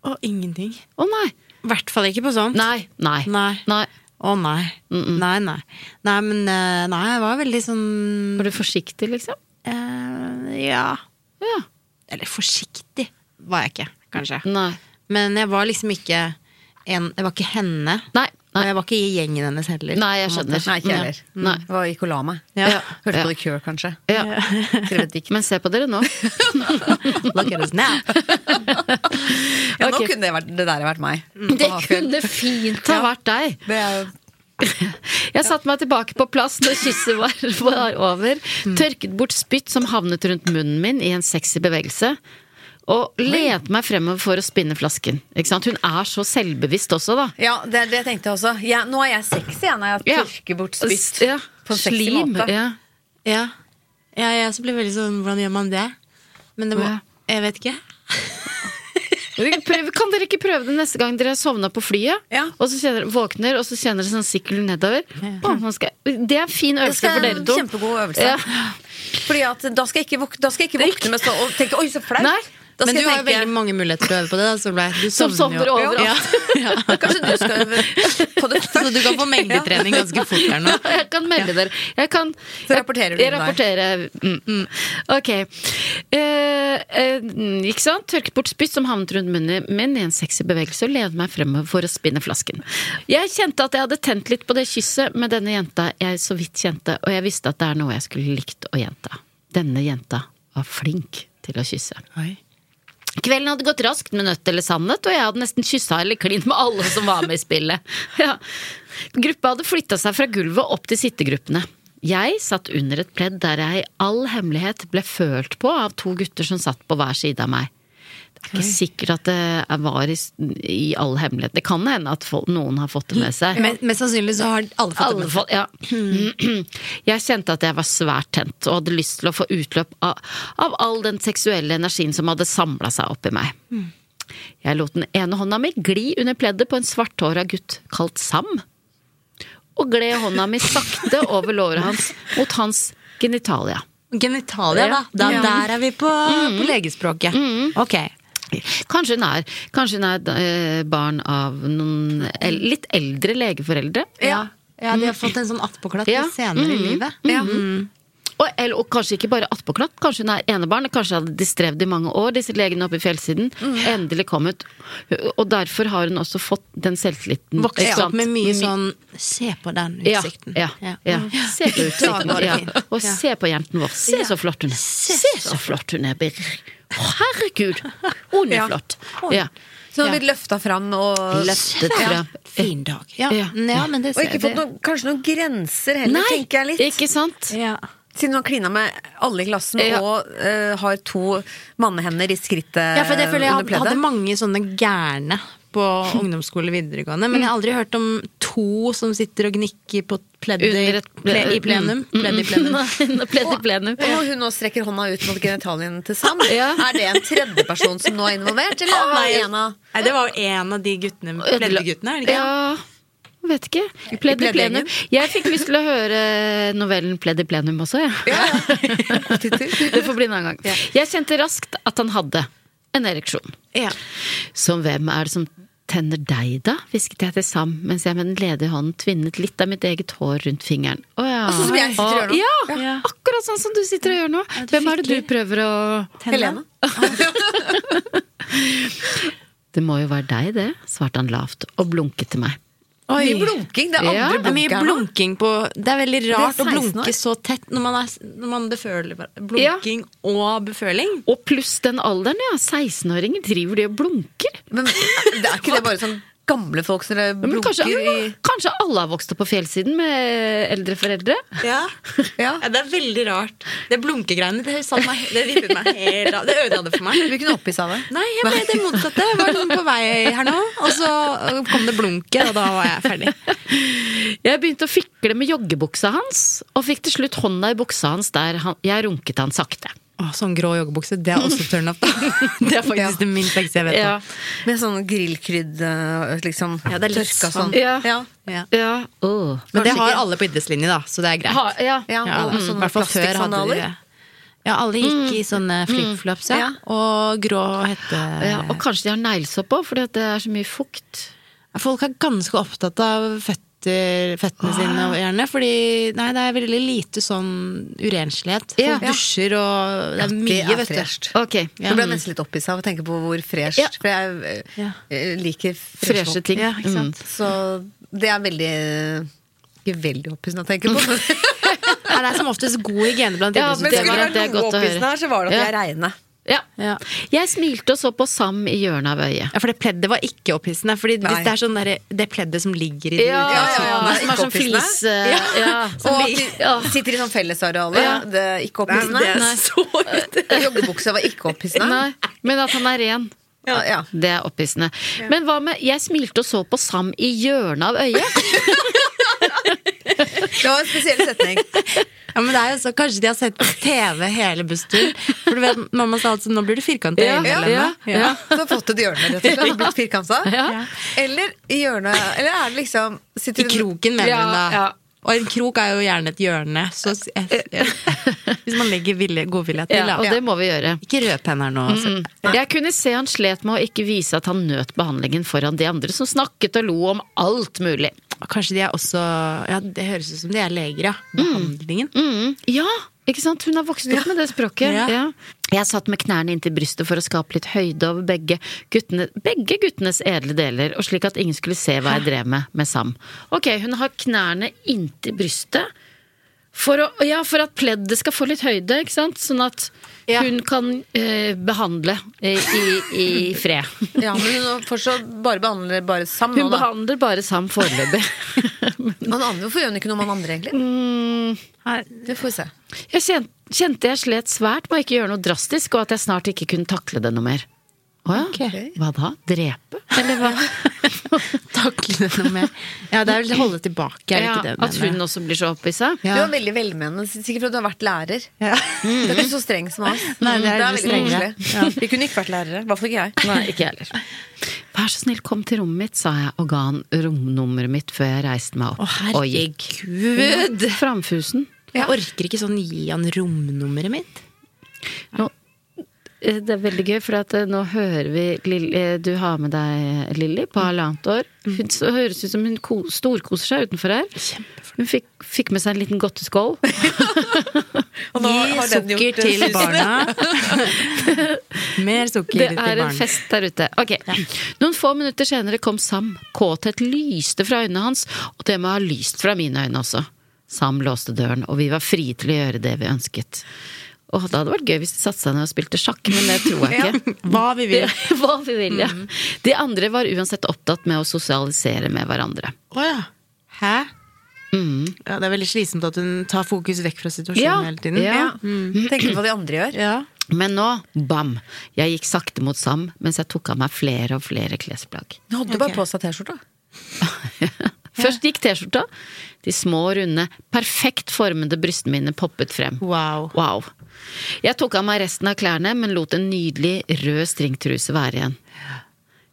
S7: Å, ingenting.
S3: Å nei.
S7: I hvert fall ikke på sånt.
S3: Nei. Nei.
S7: Nei. Å nei. Nei, nei. Nei, men eh, Nei, jeg var veldig sånn
S3: Var du forsiktig, liksom?
S7: eh, Ja.
S3: Ja.
S7: Eller forsiktig var jeg ikke, kanskje.
S3: Nei.
S7: Men jeg var liksom ikke en Jeg var ikke henne.
S3: Nei.
S7: Og
S3: Nei,
S7: jeg var ikke i gjengen hennes heller.
S3: nei jeg
S7: på en måte.
S3: skjønner.
S4: Nei, ikke jeg heller.
S3: Nei.
S4: Jeg var- gikk og la meg.
S7: Ja.
S4: Hørte
S3: Ja.
S4: på The Cure, kanskje.
S3: Ja.
S4: Skrev et dikt.
S3: Men se på dere nå.
S7: Look at us now.
S4: Ja, nå
S3: Ok.
S4: kunne det, vært, det der vært meg.
S3: Det
S4: På Hafjell.
S3: kunne fint ha vært deg.
S4: Det er jo-
S3: Jeg satte meg tilbake på plass når kysset var, var over, tørket bort spytt som havnet rundt munnen min i en sexy bevegelse, og lente meg fremover for å spinne flasken. Ikke sant? Hun er så selvbevisst også, da.
S4: Ja, det er det jeg tenkte jeg også. Ja, nå er jeg sexy jeg, når jeg
S3: Ja.
S4: tørker bort spytt.
S3: S- Ja.
S4: På en sexy
S3: Slim.
S4: måte.
S3: Ja.
S7: Ja. ja jeg også ble veldig sånn Hvordan gjør man det? Men det må
S3: Ja.
S7: Jeg vet ikke.
S3: Dere prøv- Kan dere ikke prøve det neste gang dere sovna på flyet?
S4: Ja.
S3: Og så kjenner, våkner, og så kjenner dere sånn sikkel nedover? Å, nå skal, jeg- det er en fin
S4: Det
S3: øvelse
S4: skal
S3: for
S4: være
S3: dere
S4: en
S3: to.
S4: kjempegod øvne. øvelse.
S3: Ja.
S4: Fordi at da skal jeg ikke våkne, da skal jeg ikke våkne med så, og tenke 'oi, så flaut'.
S3: Nei,
S4: Da skal
S7: Men
S4: jeg
S7: du har jo
S4: tenke-
S7: veldig mange muligheter til å øve på det. Da, Solveig. Du
S3: Som
S7: sovner
S3: sovner
S7: jo.
S3: overalt.
S7: Ja. Ja.
S4: Kanskje du skal øve på det
S7: Så
S4: først?
S7: du kan få mengdetrening ganske fort her nå.
S3: Jeg kan melde dere. Jeg kan
S4: Så rapporterer du
S3: jeg, jeg
S4: inn der.
S3: rapporterer. Mm, mm. Ok. Eh, eh, ikke sant? Tørket bort spytt som havnet rundt munnen min i en sexy bevegelse og levde meg fremover for å spinne flasken. Jeg kjente at jeg hadde tent litt på det kysset med denne jenta jeg så vidt kjente, og jeg visste at det er noe jeg skulle likt å gjenta. Denne jenta var flink til å kysse. Kvelden hadde gått raskt med nøtt eller sannhet, og jeg hadde nesten kyssa eller klint med alle som var med i spillet. Ja. Gruppa hadde flytta seg fra gulvet opp til sittegruppene. Jeg satt under et pledd der jeg i all hemmelighet ble følt på av to gutter som satt på hver side av meg. Det er ikke sikkert at det var i, i all hemmelighet. Det kan hende at folk, noen har fått det med seg.
S7: Men, mest sannsynlig så har alle fått det
S3: Alle
S7: med seg.
S3: fall, ja. Jeg kjente at jeg var svært tent og hadde lyst til å få utløp av, av all den seksuelle energien som hadde samla seg oppi meg. Jeg lot den ene hånda mi gli under pleddet på en svarthåra gutt kalt Sam, og gled hånda mi sakte over låret hans mot hans genitalia.
S7: Genitalia, da. da Der er vi på, på legespråket. Ok.
S3: Kanskje hun er, kanskje hun er eh, barn av noen el litt eldre legeforeldre.
S7: Ja. ja, de har fått en sånn attpåklatt
S3: Ja.
S7: senere i livet.
S4: Ja.
S3: Og, eller, og kanskje ikke bare attpåklatt, kanskje hun er enebarn. Kanskje hadde de strevd i mange år, disse legene oppe i fjellsiden.
S7: Mm.
S3: Endelig kommet. Og derfor har hun også fått den selvtilliten. ikke
S7: Vokst
S3: sant? Mm.
S7: opp med mye sånn Se på den
S3: ja,
S7: utsikten. Mm.
S3: ja, ja. Se på utsikten.
S7: Dagen var det
S3: Ja.
S7: fin.
S3: Og
S7: Ja.
S3: se på jenten vår. Se så flott hun er. Se så flott hun er, Birger. Å, herregud! Hun er
S4: Ja.
S3: flott. Ja.
S4: Så hun har blitt løfta fram og
S3: Løftet fra
S7: Fin dag. Ja,
S3: Ja.
S7: ja men det
S4: Og
S7: ser
S4: ikke fått noen, kanskje noen grenser heller,
S3: Nei,
S4: tenker jeg litt.
S3: ikke sant?
S7: Ja.
S4: Siden hun har klina med alle i klassen
S3: Ja.
S4: og eh, har to mannehender i skrittet
S7: Ja, for det føler jeg
S4: Eh, under
S7: hadde,
S4: pleddet.
S7: hadde mange sånne gærne på ungdomsskole videregående. Men jeg har aldri hørt om to som sitter og gnikker på pleddet
S3: Under et Mm,
S7: i- ple, i plenum. Pledd i plenum.
S3: Nei, Pledd i plenum.
S4: Og når hun nå strekker hånda ut mot genitalien til Sam,
S3: Ja.
S4: er det en tredjeperson som nå er involvert? Eller er det en av
S7: Nei, det var jo en av de guttene, pleddeguttene, er det ikke?
S3: Ja, vet ikke. Pledd i
S4: pleddgjengen.
S3: plenum. Jeg fikk lyst til å høre novellen Pledd i plenum også, jeg. det får bli en annen gang. Jeg kjente raskt at han hadde en ereksjon.
S7: Ja.
S3: Som hvem er det som tenner deg, da? hvisket jeg til Sam mens jeg med den ledige hånden tvinnet litt av mitt eget hår rundt fingeren. Å ja.
S4: Sånn som jeg sitter og gjør nå.
S3: Ja,
S7: Ja.
S3: akkurat sånn som du sitter og gjør nå.
S7: det
S3: Hvem er det
S7: fikk
S3: du prøver å
S4: Helene?
S3: Det må jo være deg, det, svarte han lavt og blunket til meg.
S7: Oi.
S4: Mye blunking. Det er
S3: Ja,
S4: andre
S7: Det er mye
S4: blunker nå.
S7: blunking på Det er veldig rart
S4: Det
S7: å
S4: er 16 år.
S7: blunke så tett når man, er, når man beføler hver- Blunking og beføling.
S3: Og pluss den alderen, ja. 16-åringer driver de og blunker.
S4: Men det er ikke det bare sånn gamle folk som
S3: Men
S4: blunker
S3: kanskje,
S4: i
S3: kanskje alle har vokst opp på fjellsiden med eldre foreldre?
S7: Ja.
S4: Ja.
S7: Det er veldig rart. Det blunkegreiene det, satt meg, det vippet meg helt av. Det ødela det
S4: Du
S7: for meg.
S4: kunne oppgitt av det.
S7: Nei, jeg ble det motsatte. Jeg var liksom på vei her nå, og så kom det blunket, og da var jeg ferdig.
S3: Jeg begynte å fikle med joggebuksa hans, og fikk til slutt hånda i buksa hans der han, jeg runket han sakte.
S7: Å, sånn grå joggebukse, det er også turn up. Det er faktisk
S4: Ja.
S7: det minst sexy jeg vet om.
S4: Med sånn grillkrydd eh, liksom.
S7: Ja, det er litt
S4: tørka
S7: sånn.
S4: sånn.
S3: Ja.
S4: Ja.
S7: Ja.
S3: Ja, åh.
S7: Men det
S4: Kanskje
S7: har
S4: ikke-
S7: alle på idrettslinje, da, så det er greit.
S3: Ha, ja. mm.
S4: Ja,
S7: Ja,
S4: og
S7: da.
S4: med
S7: I
S4: sånne Mm.
S7: hvert fall før hadde de
S4: plastikksandaler.
S7: det. Ja, alle gikk i sånne flipflops, ja. Og grå hette...
S3: Ja, og kanskje de har neglesopp òg, fordi at det er så mye fukt.
S7: Folk er ganske opptatt av føtter,
S4: Ah.
S7: føttene sine, gjerne. Fordi nei, det er veldig lite sånn urenslighet. Folk
S3: Ja.
S7: dusjer og Det er
S4: Det
S7: mye,
S4: er
S7: vet du.
S4: fresht.
S3: Ok,
S4: Nå ble jeg nesten litt opphisset av å tenke på hvor
S3: Mm.
S4: fresh
S3: Ja.
S4: For jeg eh, liker freshe Mm.
S3: Freshe
S4: folk.
S3: ting.
S7: Ja, ikke sant?
S4: Så det er veldig eh, Ikke veldig opphissende å tenke på.
S7: Ja, det er som oftest god hygiene blant
S3: Ja,
S7: idrettsutøvere.
S3: men det var- det er godt å høre.
S4: her, så var det
S3: Ja.
S4: at jeg regna.
S3: Ja.
S7: Ja.
S3: Jeg smilte og så på Sam i hjørnet av øyet.
S7: Ja, for det pleddet var ikke opphissende. Fordi
S4: Nei.
S7: hvis det er sånn der, det pleddet som ligger
S3: Ah,
S7: i
S3: Ja, ja, ja,
S4: ja.
S3: Som er sånn
S4: Ikke
S3: flis eh, ja.
S4: Og
S3: Og-
S4: at de
S3: ja.
S4: sitter i sånn fellesareale.
S3: Ja.
S4: Det er ikke opphissende.
S3: Nei, det er så
S4: Joggebuksa var ikke opphissende.
S3: Nei, men at han er ren.
S4: Ja. Ja.
S3: Det er opphissende. Men hva med 'jeg smilte og så på Sam i hjørnet av øyet'?
S4: Det var en spesiell setning.
S7: Ja, men det er jo så, Kanskje de har sett på TV hele bussturen. For du vet, mamma sa altså nå blir du firkanta i
S3: Ja,
S7: øynene.
S4: ja,
S7: Helene.
S3: ja.
S4: Så fått et hjørne, rett og slett. og Blitt firkanta.
S3: Ja.
S4: Eller i hjørnet Eller er det liksom
S7: I
S4: sitter hun-
S7: kroken, mener
S3: Ja,
S7: hun da.
S3: ja.
S7: Og en krok er jo gjerne et hjørne. Så s- jeg, jeg, hvis man man legger vilje, godvilje til.
S3: Ja, og det må vi gjøre.
S7: Ikke røp henne her nå. Altså.
S3: Mm. Jeg kunne se han slet med å ikke vise at han nøt behandlingen foran de andre som snakket og lo om alt mulig.
S7: Kanskje de er også ja, Det høres ut som de er leger, ja. Behandlingen.
S3: Mm. Ja, ikke sant? Hun har vokst opp med det språket.
S7: Ja.
S3: Ja. Jeg satt med knærne inntil brystet for å skape litt høyde over begge, guttene, begge guttenes edle deler, og slik at ingen skulle se hva jeg drev med med Sam. Ok, hun har knærne inntil brystet. For, å, ja, for at pleddet skal få litt høyde, ikke sant? Sånn at
S7: Ja.
S3: hun kan eh, behandle eh, i, i fred.
S4: Ja, men hun fortsatt bare behandler bare Sam nå,
S3: Hun
S4: da.
S3: behandler bare Sam foreløpig.
S4: Han andre, hvorfor gjør hun ikke noe med han andre, egentlig?
S7: Mm,
S4: Det får vi se.
S3: Jeg kjen- kjente jeg slet svært med å ikke gjøre noe drastisk, og at jeg snart ikke kunne takle det noe mer. Å ja.
S7: Ok.
S3: Hva da? Drepe? Eller hva?
S7: Takle det noe mer. Ja, det er vel holde tilbake, er det
S3: ja,
S7: ikke det? eh,
S3: at hun også blir så opphissa?
S7: Ja.
S4: Du er veldig velmenende, sikkert fordi du har vært lærer.
S7: Ja.
S4: Du er ikke så streng som oss.
S7: Nei, det er litt
S4: veldig
S7: strengere.
S4: koselig. Vi kunne ikke vært lærere. I hvert fall ikke jeg.
S3: Nei, ikke jeg heller. Vær så snill, kom til rommet mitt, sa jeg og ga han romnummeret mitt før jeg reiste meg opp
S7: Å,
S3: og gikk.
S7: herregud!
S3: Framfusen.
S7: Jeg orker ikke sånn gi han romnummeret mitt.
S3: Nå, eh, det er veldig gøy, for at eh, nå hører vi Lill- eh, Du har med deg eh, Lilly
S7: Mm.
S3: på halvannet år. Hun så høres ut som hun ko- storkoser seg utenfor her. Hun fikk, fikk med seg en liten godteskål.
S4: Og nå
S7: Gi
S4: har den
S7: sukker
S4: gjort, eh,
S7: til
S4: susen.
S7: barna. Mer sukker
S3: Det
S7: til
S3: er en
S7: barna.
S3: fest der ute. Ok. Noen få minutter senere kom Sam. Kåthet lyste fra øynene hans, og det må ha lyst fra mine øyne også. Sam låste døren, og vi var frie til å gjøre det vi ønsket. Åh, det hadde vært gøy hvis de satte seg ned og spilte sjakk, men det tror jeg ikke.
S7: Hva vi vil.
S3: Hva vi vil, ja. De andre var uansett opptatt med å sosialisere med hverandre.
S7: Å ja. Hæ? Ja, det er veldig slitsomt at hun tar fokus vekk fra situasjonen
S3: Ja.
S7: hele tiden.
S3: Ja.
S7: Mm.
S4: Tenker på hva de andre gjør.
S7: Ja.
S3: Men nå, bam! Jeg gikk sakte mot Sam mens jeg tok av meg flere og flere klesplagg.
S4: Hun hadde bare på seg T-skjorta.
S3: Først gikk T-skjorta. De små, runde, perfekt formede brystene mine poppet frem.
S7: Wow.
S3: Wow. Jeg tok av meg resten av klærne, men lot en nydelig rød stringtruse være igjen.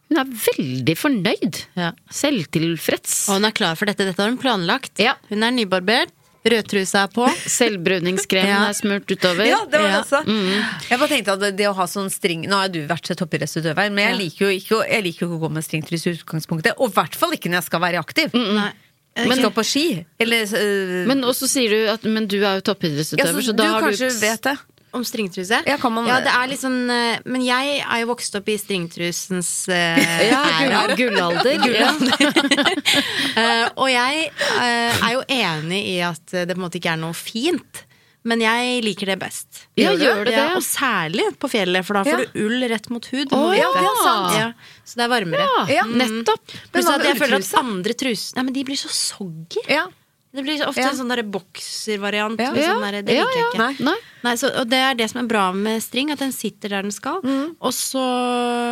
S3: Hun er veldig fornøyd.
S7: Ja.
S3: Selvtilfreds.
S7: Og hun er klar for dette. Dette har hun planlagt.
S3: Ja.
S7: Hun er nybarbert. Rødtrusa er på.
S3: Selvbruningskremen
S7: Ja.
S3: er smurt utover.
S4: Ja, det var det
S7: Ja.
S4: også.
S3: Mm.
S4: Jeg bare tenkte at det å ha sånn string Nå har du vært toppidrettsutøver, men jeg liker jo ikke, å- jeg liker jo ikke å gå med stringtruse i utgangspunktet. Og i hvert fall ikke når jeg skal være aktiv.
S7: Nei.
S4: Men skal på ski. Eller øh,
S3: Men også sier du at men du er jo
S4: ja,
S3: toppidrettsutøver,
S4: så,
S3: så,
S4: Du
S3: da har
S4: kanskje
S3: du
S4: vet det.
S7: Om stringtruse?
S4: Ja, kan man-
S7: ja, det er litt sånn eh, Men jeg er jo vokst opp i stringtrusens eh,
S3: ja,
S7: æra.
S3: gull- gullalder. Ja.
S7: Eh, og jeg eh, er jo enig i at det på en måte ikke er noe fint. Men jeg liker det best.
S3: Ja, gjør du det?
S7: Ja, og særlig på fjellet, for da får
S4: Ja.
S7: du ull rett mot hud.
S3: Å,
S7: må
S3: ja,
S7: vite.
S3: det er sant.
S7: Ja, så det er varmere.
S3: ja,
S7: Mm.
S3: Ah, Mm-hmm. nettopp.
S7: Pluss
S4: hva
S7: at
S4: med
S7: jeg føler at
S4: ulltruse?
S7: andre truser Nei, men de blir så soggy.
S4: Ja.
S7: Det blir ofte
S4: Ja.
S7: en sånn derre bokservariant.
S4: Ja.
S7: med Sånn derre- det
S3: Ja,
S7: liker jeg
S3: ja.
S7: ikke.
S3: Nei. Nei.
S7: så, og det er det som er bra med string, at den sitter der den skal.
S3: Mm.
S7: Og så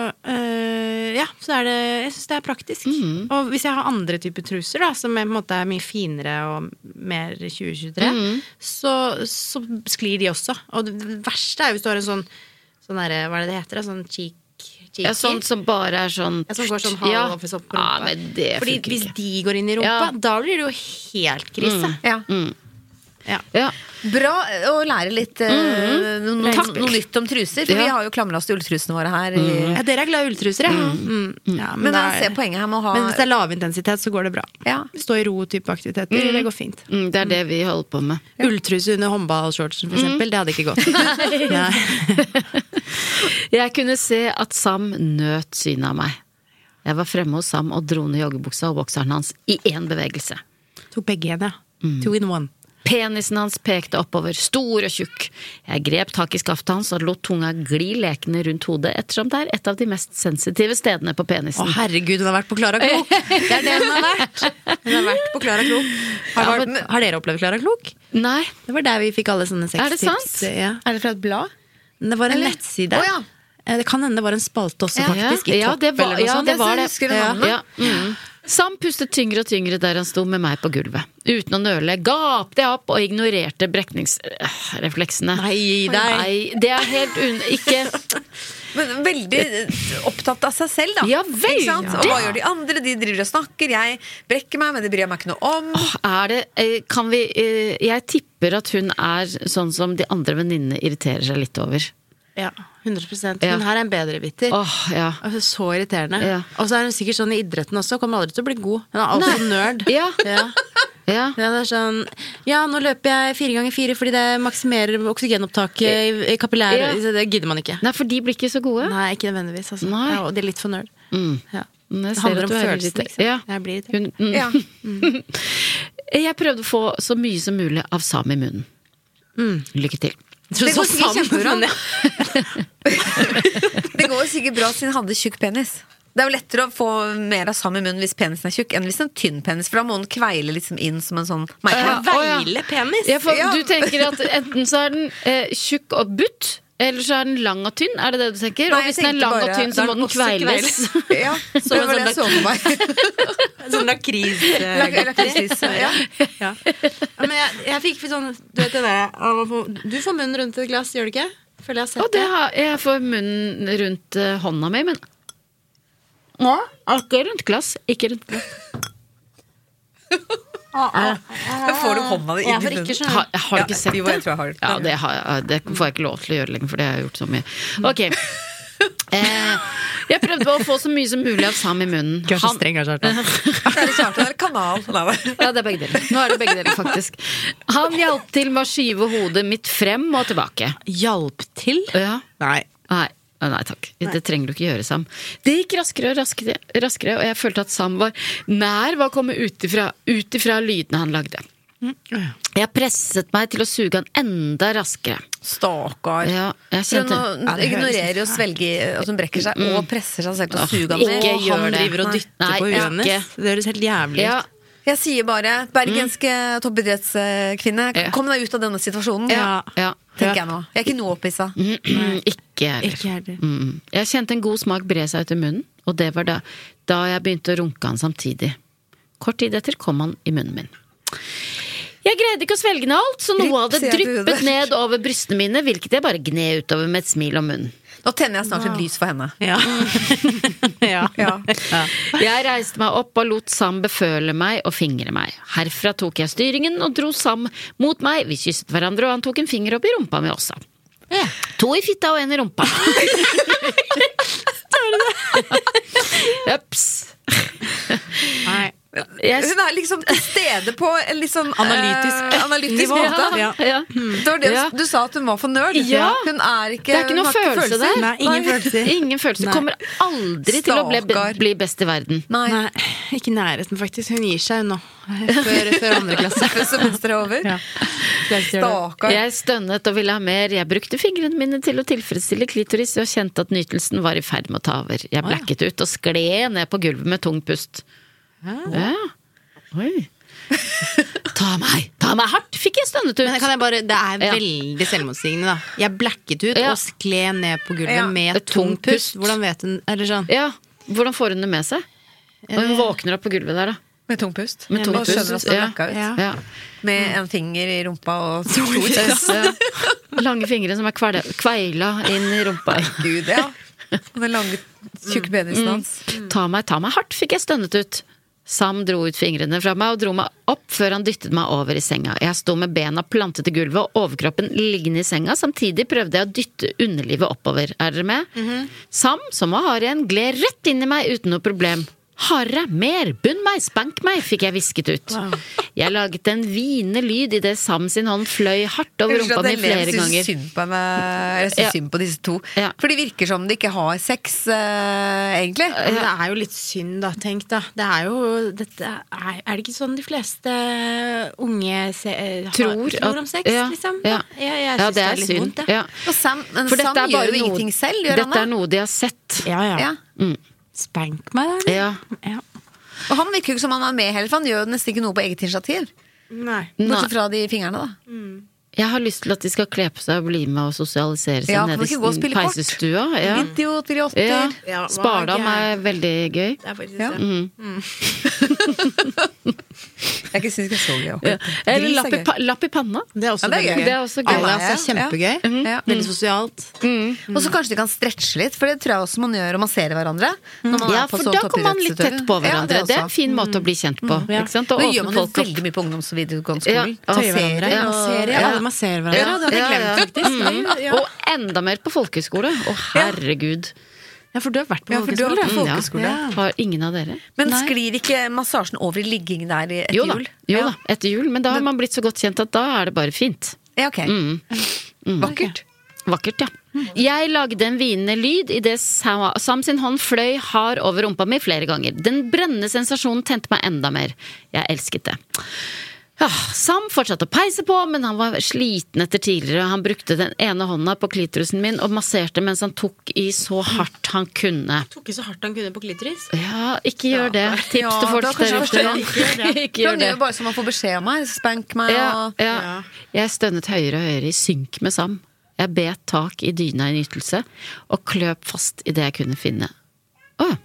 S7: øh, Ja, så er det Jeg syns det er praktisk.
S3: Mm.
S7: Og hvis jeg har andre typer truser, da, som er, på en måte er mye finere og mer 2023,
S3: Mm.
S7: så, så sklir de også. Og det verste er hvis du har en sånn, sånn derre- Hva er det det heter? da? Sånn cheek cheeky?
S3: Ja, sånn som bare er sånn
S7: Ja, som går sånn halv
S3: Ja.
S7: over sopp på
S3: Ja,
S7: rumpa.
S3: men det
S7: Fordi
S3: funker
S7: hvis
S3: ikke.
S7: de går inn i rumpa,
S3: Ja. Mm.
S7: da blir det jo helt krise.
S4: Ja.
S7: Ja.
S3: Ja.
S4: Bra å lære litt øh, noe,
S3: Mm-hmm. Takk.
S4: noe nytt om truser, for
S3: Ja. Mm-hmm.
S4: vi har jo klamra oss til ulltrusene våre her. I,
S7: Ja, dere er glad i ulltruser, ja. Mm. ja
S4: men
S7: da
S4: jeg
S7: er-
S4: ser poenget her med å ha
S7: Men hvis det er lavintensitet, så går det bra.
S4: Ja.
S7: Stå i ro-type aktiviteter, det går fint.
S3: Mm, Det er det vi holder på med.
S7: Ulltruse under håndballshortsen, for eksempel, det hadde ikke gått. Nei.
S3: Jeg kunne se at Sam nøt synet av meg. Jeg var fremme hos Sam og dro ned joggebuksa og bokseren hans i én bevegelse.
S7: Tok begge igjen, ja. Two in one.
S3: Penisen hans pekte oppover, stor og tjukk. Jeg grep tak i skaftet hans og lot tunga gli lekende rundt hodet, ettersom det er et av de mest sensitive stedene på
S7: Å,
S3: penisen.
S7: herregud, hun har vært på Klara Klok! Det er det hun har vært! Hun har vært på Klara Klok. Har,
S3: Ja,
S7: vært- har dere opplevd Klara Klok?
S3: Nei,
S7: Det var der vi fikk alle sånne
S3: Er det
S7: sextips.
S3: sant?
S7: Ja.
S4: Er det fra et blad?
S7: Det var en
S4: Eller?
S7: nettside.
S4: Å, ja.
S7: Eh, Det kan hende det var en spalte også,
S3: Ja.
S7: faktisk. I
S3: Ja,
S7: topp
S3: det var-
S7: eller noe
S3: ja,
S7: sånt.
S3: det var det.
S4: Husker du navnet?
S3: Ja. Mm. Sam pustet tyngre og tyngre der han sto med meg på gulvet. Uten å nøle gapte jeg opp og ignorerte brekningsrefleksene.
S7: Nei, deg.
S3: Nei, det er helt un... Ikke
S4: Men veldig eh, opptatt av seg selv, da.
S3: Ja,
S4: Ikke sant? Og
S3: veldig.
S4: hva gjør de andre? De driver og snakker, jeg brekker meg, men det bryr jeg meg ikke noe om.
S3: øh, Er det eh, Kan vi eh, Jeg tipper tipper at hun er sånn som de andre venninnene irriterer seg litt over.
S7: Ja, 100
S3: Ja.
S7: Men her er en bedre bitter.
S3: Åh, ja.
S7: Altså, Så irriterende.
S3: Ja.
S7: Og så er hun sikkert sånn i idretten også. Kommer aldri til å bli god. Hun er alltid nerd.
S3: Ja.
S7: Ja.
S3: Ja.
S7: Ja, det er sånn Ja, nå løper jeg fire ganger fire fordi det maksimerer oksygenopptaket i- i kapillæret.
S3: Ja.
S7: Det gidder man ikke.
S3: Nei, for de blir ikke så gode.
S7: Nei, ikke nødvendigvis. Altså.
S3: Nei. Mm.
S7: Ja, og det er litt for nerd. Ja.
S3: Men jeg
S7: Det
S3: ser
S7: handler
S3: at du er
S7: om følelsen,
S3: irritert.
S7: liksom.
S3: Ja.
S7: Jeg blir irritert.
S3: Hun, mm.
S4: Ja.
S3: Jeg prøvde å få så mye som mulig av Sam i munnen.
S7: Mm.
S3: Lykke til.
S7: Så-
S4: Det går
S7: så
S4: sikkert
S7: sammen,
S4: kjempebra.
S7: men ja.
S4: Det går jo sikkert bra siden han hadde tjukk penis. Det er jo lettere å få mer av Sam i munnen hvis penisen er tjukk, enn hvis en tynn penis, for da må den kveile liksom inn som en sånn
S3: Ja.
S4: merke.
S7: Veile penis!
S3: Ja, for
S4: Ja.
S3: Du tenker at enten så er den eh, tjukk og butt, eller så er den lang og tynn. Er det det du tenker? og
S4: Nei, jeg
S3: hvis den er
S4: tenkte
S3: lang
S4: bare-
S3: og tynn, så
S4: da er
S3: må
S4: den
S3: den
S4: også
S3: kveiles.
S4: Ja, det
S7: en
S4: var det
S7: sånn
S4: jeg så for meg.
S7: Sånn lakris... eh,
S4: Lakris, ja.
S7: ja. Ja, Men jeg, jeg fikk sånn Du vet det der av å få- Du får munnen rundt et glass, gjør du ikke? Føler jeg har
S3: Og
S7: sett
S3: det
S7: det.
S3: har jeg får munnen rundt eh, hånda mi, men ja, ikke rundt glass. Ikke rundt glass.
S4: Da får du hånda di
S7: Jeg
S4: inn
S7: får
S4: i
S7: ikke
S4: munnen.
S7: skjønne.
S3: Har, har du ikke sett
S4: Jo,
S3: det?
S4: jeg tror jeg har det.
S3: Ja, det, har, jeg- det får jeg ikke lov til å gjøre lenger, for det har jeg gjort så mye. Ok. Eh, jeg prøvde å få så mye som mulig av Sam i munnen. Han-
S4: Er det svart, eller kanal? Nei, nei.
S3: Ja, det er begge deler. Nå er det begge deler, faktisk. Han hjalp til med å skyve hodet mitt frem og tilbake.
S7: Hjalp til?
S3: Ja.
S7: Nei.
S3: Nei. Å, Nei takk, det trenger du ikke gjøre, Sam. Det gikk raskere og raskere, raskere og jeg følte at Sam var nær ved å komme ut ifra, ut ifra lydene han lagde. Jeg presset meg til å suge han enda raskere.
S4: Stakkar.
S3: Ja, jeg
S4: Hun
S3: kjente
S4: nå ignorerer og svelger og hun brekker seg og presser seg selv til å suge av
S3: Mm. Ikke
S4: mer.
S3: gjør det. Nei. Nei, ikke.
S7: Det høres helt jævlig
S3: ja,
S7: ut.
S4: Jeg sier bare bergenske toppidrettskvinne,
S3: Mm. Ja.
S4: kom deg ut av denne situasjonen.
S3: ja, ja. Mm.
S4: Tenker jeg nå. Jeg er ikke noe opphissa.
S3: Ikke jeg heller.
S7: Ikke heller.
S3: Mm. Jeg kjente en god smak bre seg ut i munnen, og det var da, da jeg begynte å runke han samtidig. Kort tid etter kom han i munnen min. Jeg greide ikke å svelge ned alt, så noe av det
S4: Ripp, sier du
S3: dryppet
S4: det?
S3: ned over brystene mine, hvilket jeg bare gned utover med et smil om munnen.
S4: Nå tenner jeg snart et lys for henne.
S7: Ja. ja.
S4: Ja.
S3: Jeg reiste meg opp og lot Sam beføle meg og fingre meg. Herfra tok jeg styringen og dro Sam mot meg, vi kysset hverandre, og han tok en finger opp i rumpa mi også. To i fitta og en i rumpa. Ups.
S7: Nei.
S3: Jeg
S4: Hun er liksom til stede på en litt sånn
S7: Analytisk
S4: eh, analytisk
S7: nivå.
S4: måte. Mm.
S7: Ja.
S4: Det var det du-
S3: Ja.
S4: du sa, at hun var for nerd.
S3: Ja.
S4: Hun er ikke
S3: Det
S7: Mm.
S3: er ikke
S4: hun
S3: noe
S4: har
S3: følelse
S4: følelser.
S3: der.
S7: Nei, ingen følelser.
S3: Ingen følelser.
S7: Nei.
S3: Kommer aldri til å bli,
S4: Stakkar.
S3: bli best i verden.
S4: Nei.
S7: Nei, ikke i nærheten, faktisk. Hun gir seg nå. Før, før andre klasse.
S4: Før semesteret er over.
S7: Ja.
S4: Stakkar.
S3: Jeg stønnet og ville ha mer. Jeg brukte fingrene mine til å tilfredsstille klitoris og kjente at nytelsen var i ferd med å ta over. Jeg blacket ut og skled ned på gulvet med tung pust. Ja. Oi. Ta meg! Ta meg hardt! Fikk jeg stønnet ut.
S7: Men kan jeg bare, det er
S3: Ja.
S7: veldig selvmotsigende, da. Jeg blacket ut
S3: Ja.
S7: og skled ned på gulvet
S4: Ja.
S7: med
S3: Et
S7: tung
S3: tungt pust.
S7: pust. Hvordan vet hun Eller sånn.
S3: Ja. Hvordan får hun det med seg? Og
S7: Eh,
S3: hun våkner opp på gulvet der, da.
S4: Med tung pust.
S3: Med tung
S4: Og skjønner
S3: pust,
S4: at hun
S3: ja.
S4: blacka ut.
S7: Ja.
S3: Ja.
S4: Med en finger i rumpa og to i
S3: Så, Eh, lange fingre som er kvele, kveila inn i rumpa. Mm.
S4: Gud, ja. Og den lange, tjukke penisen hans.
S3: Ta meg, ta meg hardt, fikk jeg stønnet ut. Sam dro ut fingrene fra meg og dro meg opp før han dyttet meg over i senga. Jeg sto med bena plantet i gulvet og overkroppen liggende i senga. Samtidig prøvde jeg å dytte underlivet oppover. Er dere med?
S7: Mhm.
S3: Sam, som var hard igjen, gled rett inn i meg uten noe problem. Hardere, mer, bunn meg, spank meg, fikk jeg hvisket ut. Jeg laget en hvine lyd idet Sam sin hånd fløy hardt over
S4: Unnskyld
S3: rumpa
S4: at
S3: mi
S4: jeg ler,
S3: flere
S4: jeg syns
S3: ganger.
S4: synd på henne. Jeg syns
S3: Ja.
S4: synd på disse to.
S3: Ja.
S4: For de virker som de ikke har sex, eh, egentlig.
S7: Men det er jo litt synd, da. Tenk, da. Det er jo dette er, er det ikke sånn de fleste unge se, eh, har,
S3: Tror
S7: tror
S3: at-
S7: om sex,
S3: ja,
S7: liksom?
S3: ja.
S7: Da. Jeg, jeg
S3: Ja,
S7: syns det er litt vondt, jeg.
S3: Ja.
S4: Og Sam, men
S3: For
S4: Sam
S3: dette er
S4: gjør
S3: bare
S4: jo
S3: noe,
S4: ingenting selv, gjør
S3: dette er
S4: han det?
S3: noe de har sett.
S7: Ja, ja.
S4: Ja.
S7: Spank meg, da.
S3: Ja.
S7: Ja.
S4: Og han virker jo ikke som han er med heller, for han gjør jo nesten ikke noe på eget initiativ.
S7: Nei.
S3: Nei.
S4: Bortsett fra de fingrene, da.
S3: Jeg har lyst til at de skal kle på seg og bli med og sosialisere seg
S4: Ja, kan
S3: nede
S4: vi ikke gå og
S3: i
S4: spille kort?
S3: peisestua. Ja.
S4: Idioter i åtter.
S3: Ja.
S7: Ja, hva er
S3: Spardam
S7: gærent?
S3: er veldig gøy.
S7: Det er faktisk
S4: Ja.
S7: det.
S4: Jeg syns ikke jeg så gøy.
S3: Ja.
S4: akkurat.
S3: Eller
S4: Gris er
S3: lapp i,
S4: gøy.
S3: pa- lapp i panna.
S7: Det er også
S4: Ja, det er
S7: veldig
S4: gøy.
S7: gøy.
S3: Det er også gøy.
S7: Alle er
S4: Ja,
S7: altså
S4: ja.
S7: kjempegøy.
S4: Mhm. Ja.
S7: Veldig sosialt.
S4: Og så kanskje de kan stretche litt, for det tror jeg også man gjør om man ser hverandre. Når man
S3: Ja,
S4: er på
S3: for
S4: sånn
S3: da kommer man litt tett på
S4: toppidrettsutøver.
S3: hverandre.
S4: Ja,
S3: det, er en
S4: også.
S3: fin måte å bli kjent på. Ikke sant? Og
S4: Nå gjør
S3: åpne
S4: man jo
S3: folk opp.
S4: veldig mye på ungdoms- og videregående
S3: Ja,
S4: skolen.
S3: og
S4: Ta
S7: Tøye hverandre.
S4: serier
S7: Ja,
S4: og-
S7: serier.
S4: Ja.
S7: Alle masserer hverandre.
S4: Ja, det hadde jeg glemt, faktisk.
S3: Mm. Og enda mer på folkehøyskole. Å, herregud.
S7: Ja, for du har vært på
S4: Ja, for du har vært på folkeskole.
S7: folkeskole. Ja.
S3: Har ingen av dere?
S4: Men sklir ikke massasjen over i ligging der i- etter
S3: Jo da,
S4: jul?
S3: jo
S4: Ja.
S3: da, etter jul. Men da har man blitt så godt kjent at da er det bare fint.
S4: Ja, ok. Mm. Vakkert.
S3: Vakkert, ja. Jeg lagde en hvinende lyd idet Sam Sam sin hånd fløy hard over rumpa mi flere ganger. Den brennende sensasjonen tente meg enda mer. Jeg elsket det. Ja, Sam fortsatte å peise på, men han var sliten etter tidligere. Han brukte den ene hånda på klitorisen min og masserte mens han tok i så hardt han kunne.
S7: Tok ikke så hardt han kunne på klitoris.
S3: Ja, ikke gjør det. Tips
S4: Ja,
S3: til folk
S4: da kanskje
S3: der
S4: forstår
S3: ute.
S4: jeg
S3: Ikke gjør det. ikke
S4: For
S3: gjør
S4: han
S3: det.
S4: gjør jo bare som han får beskjed om her. Spank meg
S3: Ja,
S4: og
S3: ja. Jeg stønnet høyere og høyere i synk med Sam. Jeg bet tak i dyna i nytelse og kløp fast i det jeg kunne finne. Å ja.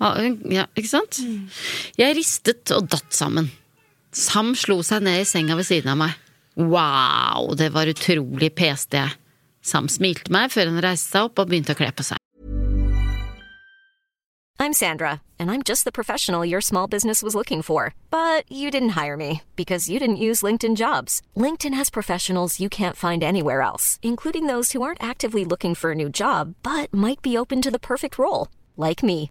S3: Ja, ja, ikke sant? Jeg ristet og datt sammen. Sam slo seg ned i senga ved siden av meg. Wow, det var utrolig peste jeg. Sam smilte meg før han reiste seg opp og begynte å kle på seg.
S8: I'm Sandra, and I'm just the professional your small business was looking for. But you didn't hire me because you didn't use LinkedIn jobs. LinkedIn has professionals you can't find anywhere else, including those who aren't actively looking for a new job but might be open to the perfect role, like me.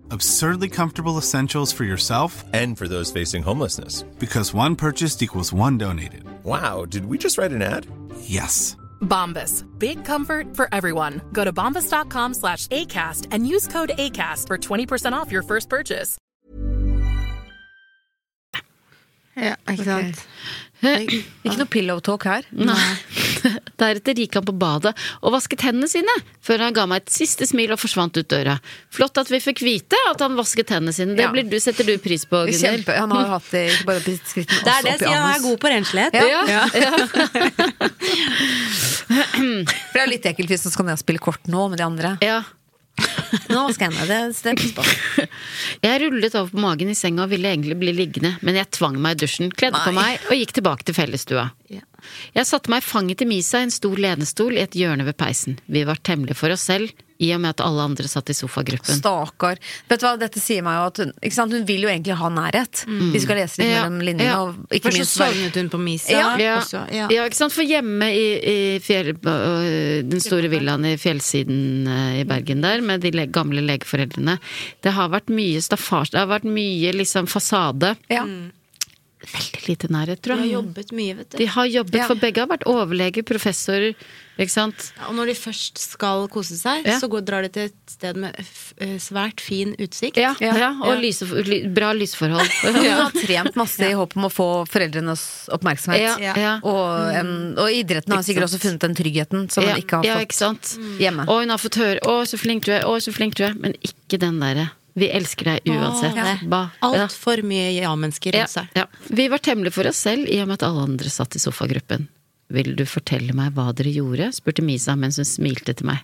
S9: Absurdly comfortable essentials for yourself
S10: And for those facing homelessness.
S9: because one purchased equals one donated.
S10: Wow, did we just write an ad?
S9: Yes.
S11: Bombas. Big comfort for everyone. Go to bombas.com slash ACAST and use code ACAST for 20% off your first purchase.
S7: Ja, ikke sant.
S4: Ikke noe pillow talk her.
S3: Nei. Deretter gikk han på badet og vasket hendene sine, før han ga meg et siste smil og forsvant ut døra. Flott at vi fikk vite at han vasket hendene sine. Det
S4: Ja.
S3: blir du, setter du pris på, Gunnhild.
S4: Kjempe, han har jo hatt det ikke bare på skrittene,
S7: Det er
S4: også
S7: det,
S4: opp i
S7: sier han er
S4: anus.
S7: god på renslighet.
S4: Ja.
S3: Ja.
S4: For det er jo litt ekkelt hvis man skal ned og spille kort nå med de andre.
S3: Ja.
S4: Nå skal jeg ned, det stemmes på.
S3: Jeg rullet over på magen i senga og ville egentlig bli liggende, men jeg tvang meg i dusjen, kledde på
S4: Nei.
S3: meg og gikk tilbake til fellesstua. Jeg satte meg i fanget til Misa i en stor lenestol i et hjørne ved peisen. Vi var temmelig for oss selv, i og med at alle andre satt i sofagruppen.
S4: Stakkar. Vet du hva, dette sier meg jo at hun ikke sant? Hun vil jo egentlig ha nærhet. Vi skal lese litt
S3: Mm. Ja,
S4: mellom linjene,
S3: ja.
S4: og ikke
S7: Først så
S4: minst være
S7: sovnet hun på Misa.
S4: Ja.
S3: Ja.
S7: og så-
S3: ja.
S7: Ah, ja.
S3: ikke sant? For hjemme i, i fjell, øh, den store villaen i fjellsiden øh, i Bergen der, med de le gamle legeforeldrene, det har vært mye staffasje, det har vært mye liksom fasade.
S4: ja.
S3: Veldig lite nærhet, tror
S7: Hun har
S3: jeg.
S7: jobbet mye, vet du.
S3: De har jobbet,
S4: Ja.
S3: for begge har vært overlege, professorer, ikke sant.
S7: Ja, Og når de først skal kose seg,
S3: Ja.
S7: så går, drar de til et sted med f eh, svært fin utsikt.
S3: Ja, ja, og
S7: Ja.
S3: lyse, ly, bra lysforhold.
S4: Hun har trent masse i håp om å få foreldrenes oppmerksomhet.
S3: Ja, ja.
S4: Og, em, og idretten har sikkert også funnet den tryggheten som
S3: ja,
S4: hun ikke
S3: ja,
S4: har
S3: ikke
S4: fått
S3: sant?
S4: hjemme.
S3: Og hun har fått høre 'Å, så flink du er', 'Å, så flink du er', men ikke den derre 'Vi elsker deg uansett'.
S7: Ja.
S3: Ba- Ja.
S7: Altfor mye ja-mennesker
S3: Ja,
S7: rundt seg.
S3: ja. Vi var temmelig for oss selv i og med at alle andre satt i sofagruppen. Vil du fortelle meg hva dere gjorde? spurte Misa mens hun smilte til meg.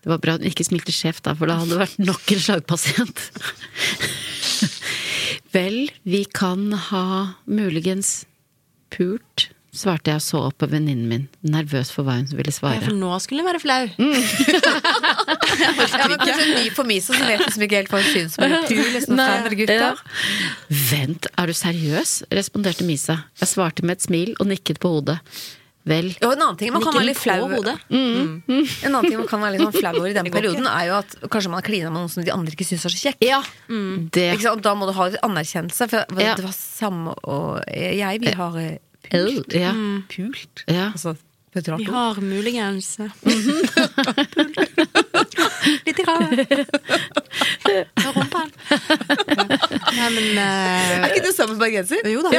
S3: Det var bra hun ikke smilte skjevt, da, for da hadde det vært nok en slagpasient. Vel, vi kan ha muligens pult, svarte jeg og så opp på venninnen min, nervøs for hva hun ville
S7: Ja, Mm. for
S3: svare.
S7: nå skulle hun være flau.
S4: Ja, men kanskje en ny for meg, så vet liksom ikke helt hva hun syns om en kul, liksom,
S3: Nei,
S4: fra andre gutta.
S3: ja. Vent, er du seriøs? responderte Misa. Jeg svarte med et smil og nikket på hodet. Vel,
S4: Og en annen ting man kan
S7: Ikke
S4: være
S7: litt
S4: litt flau
S7: på hodet.
S4: En annen ting man kan være litt sånn flau over i den perioden, er jo at kanskje man har klina med noen som de andre ikke syns er så kjekk.
S3: Ja,
S7: Mm.
S3: det
S4: Ikke sant? Da må du ha litt anerkjennelse. For det
S3: Ja.
S4: var samme og jeg, vi har eh,
S3: L, ja.
S7: Mm.
S4: pult.
S3: Ja.
S4: Altså, Petrarco.
S7: Vi har muligens eh, Litt i kravet. Rumpa. Ja. Nei, men eh,
S4: Er ikke du sammen med bergenser?
S7: Jo da.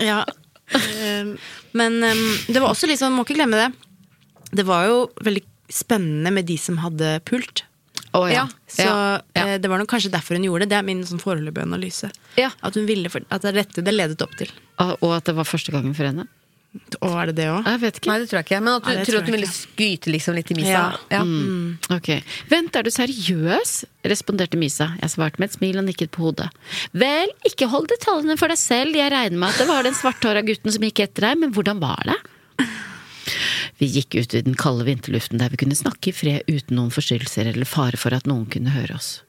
S7: Ja. Ehm, Men ehm, det var også litt sånn, må ikke glemme det. Det var jo veldig spennende med de som hadde pult.
S3: Å, ja.
S7: Så
S3: Ja, ja.
S7: eh, det var nok kanskje derfor hun gjorde det. Det er min sånn foreløpige analyse. At hun ville for, at det er dette det ledet opp til.
S3: Ah, Og at det var første gangen for henne? Ah,
S7: Og er det det òg?
S3: Jeg vet ikke.
S4: Nei, det tror jeg ikke. Men at du
S3: Nei, det
S4: tror
S3: tror
S4: at
S3: jeg
S4: du ville skryte liksom litt i misa.
S3: Ja.
S4: Ja.
S3: Mm. Ok. Vent, er du seriøs? responderte Misa. Jeg svarte med et smil og nikket på hodet. Vel, ikke hold detaljene for deg selv, jeg regner med at det var den svarthåra gutten som gikk etter deg, men hvordan var det? Vi gikk ut i den kalde vinterluften der vi kunne snakke i fred uten noen forstyrrelser eller fare for at noen kunne høre oss.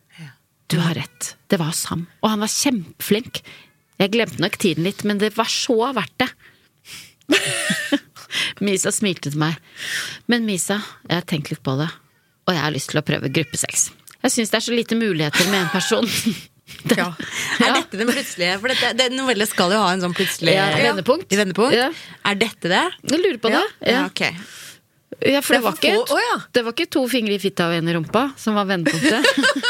S3: Du har rett, det var Sam, og han var kjempeflink. Jeg glemte nok tiden litt, men det var så verdt det. Misa smilte til meg. Men Misa, jeg har tenkt litt på det, og jeg har lyst til å prøve gruppesex. Jeg syns det er så lite muligheter med en person.
S7: Er dette den plutselige? For dette, det, novelle skal jo ha en sånn plutselig
S3: Ja, vendepunkt.
S7: i vendepunkt.
S3: Ja.
S7: Er dette det?
S3: Jeg lurer på det. Ja.
S7: Ja, ok.
S3: Ja, for det
S7: Det er
S3: var,
S7: for
S3: ikke,
S7: få- å,
S3: det var ikke to fingre i fitta og én i rumpa som var vendepunktet.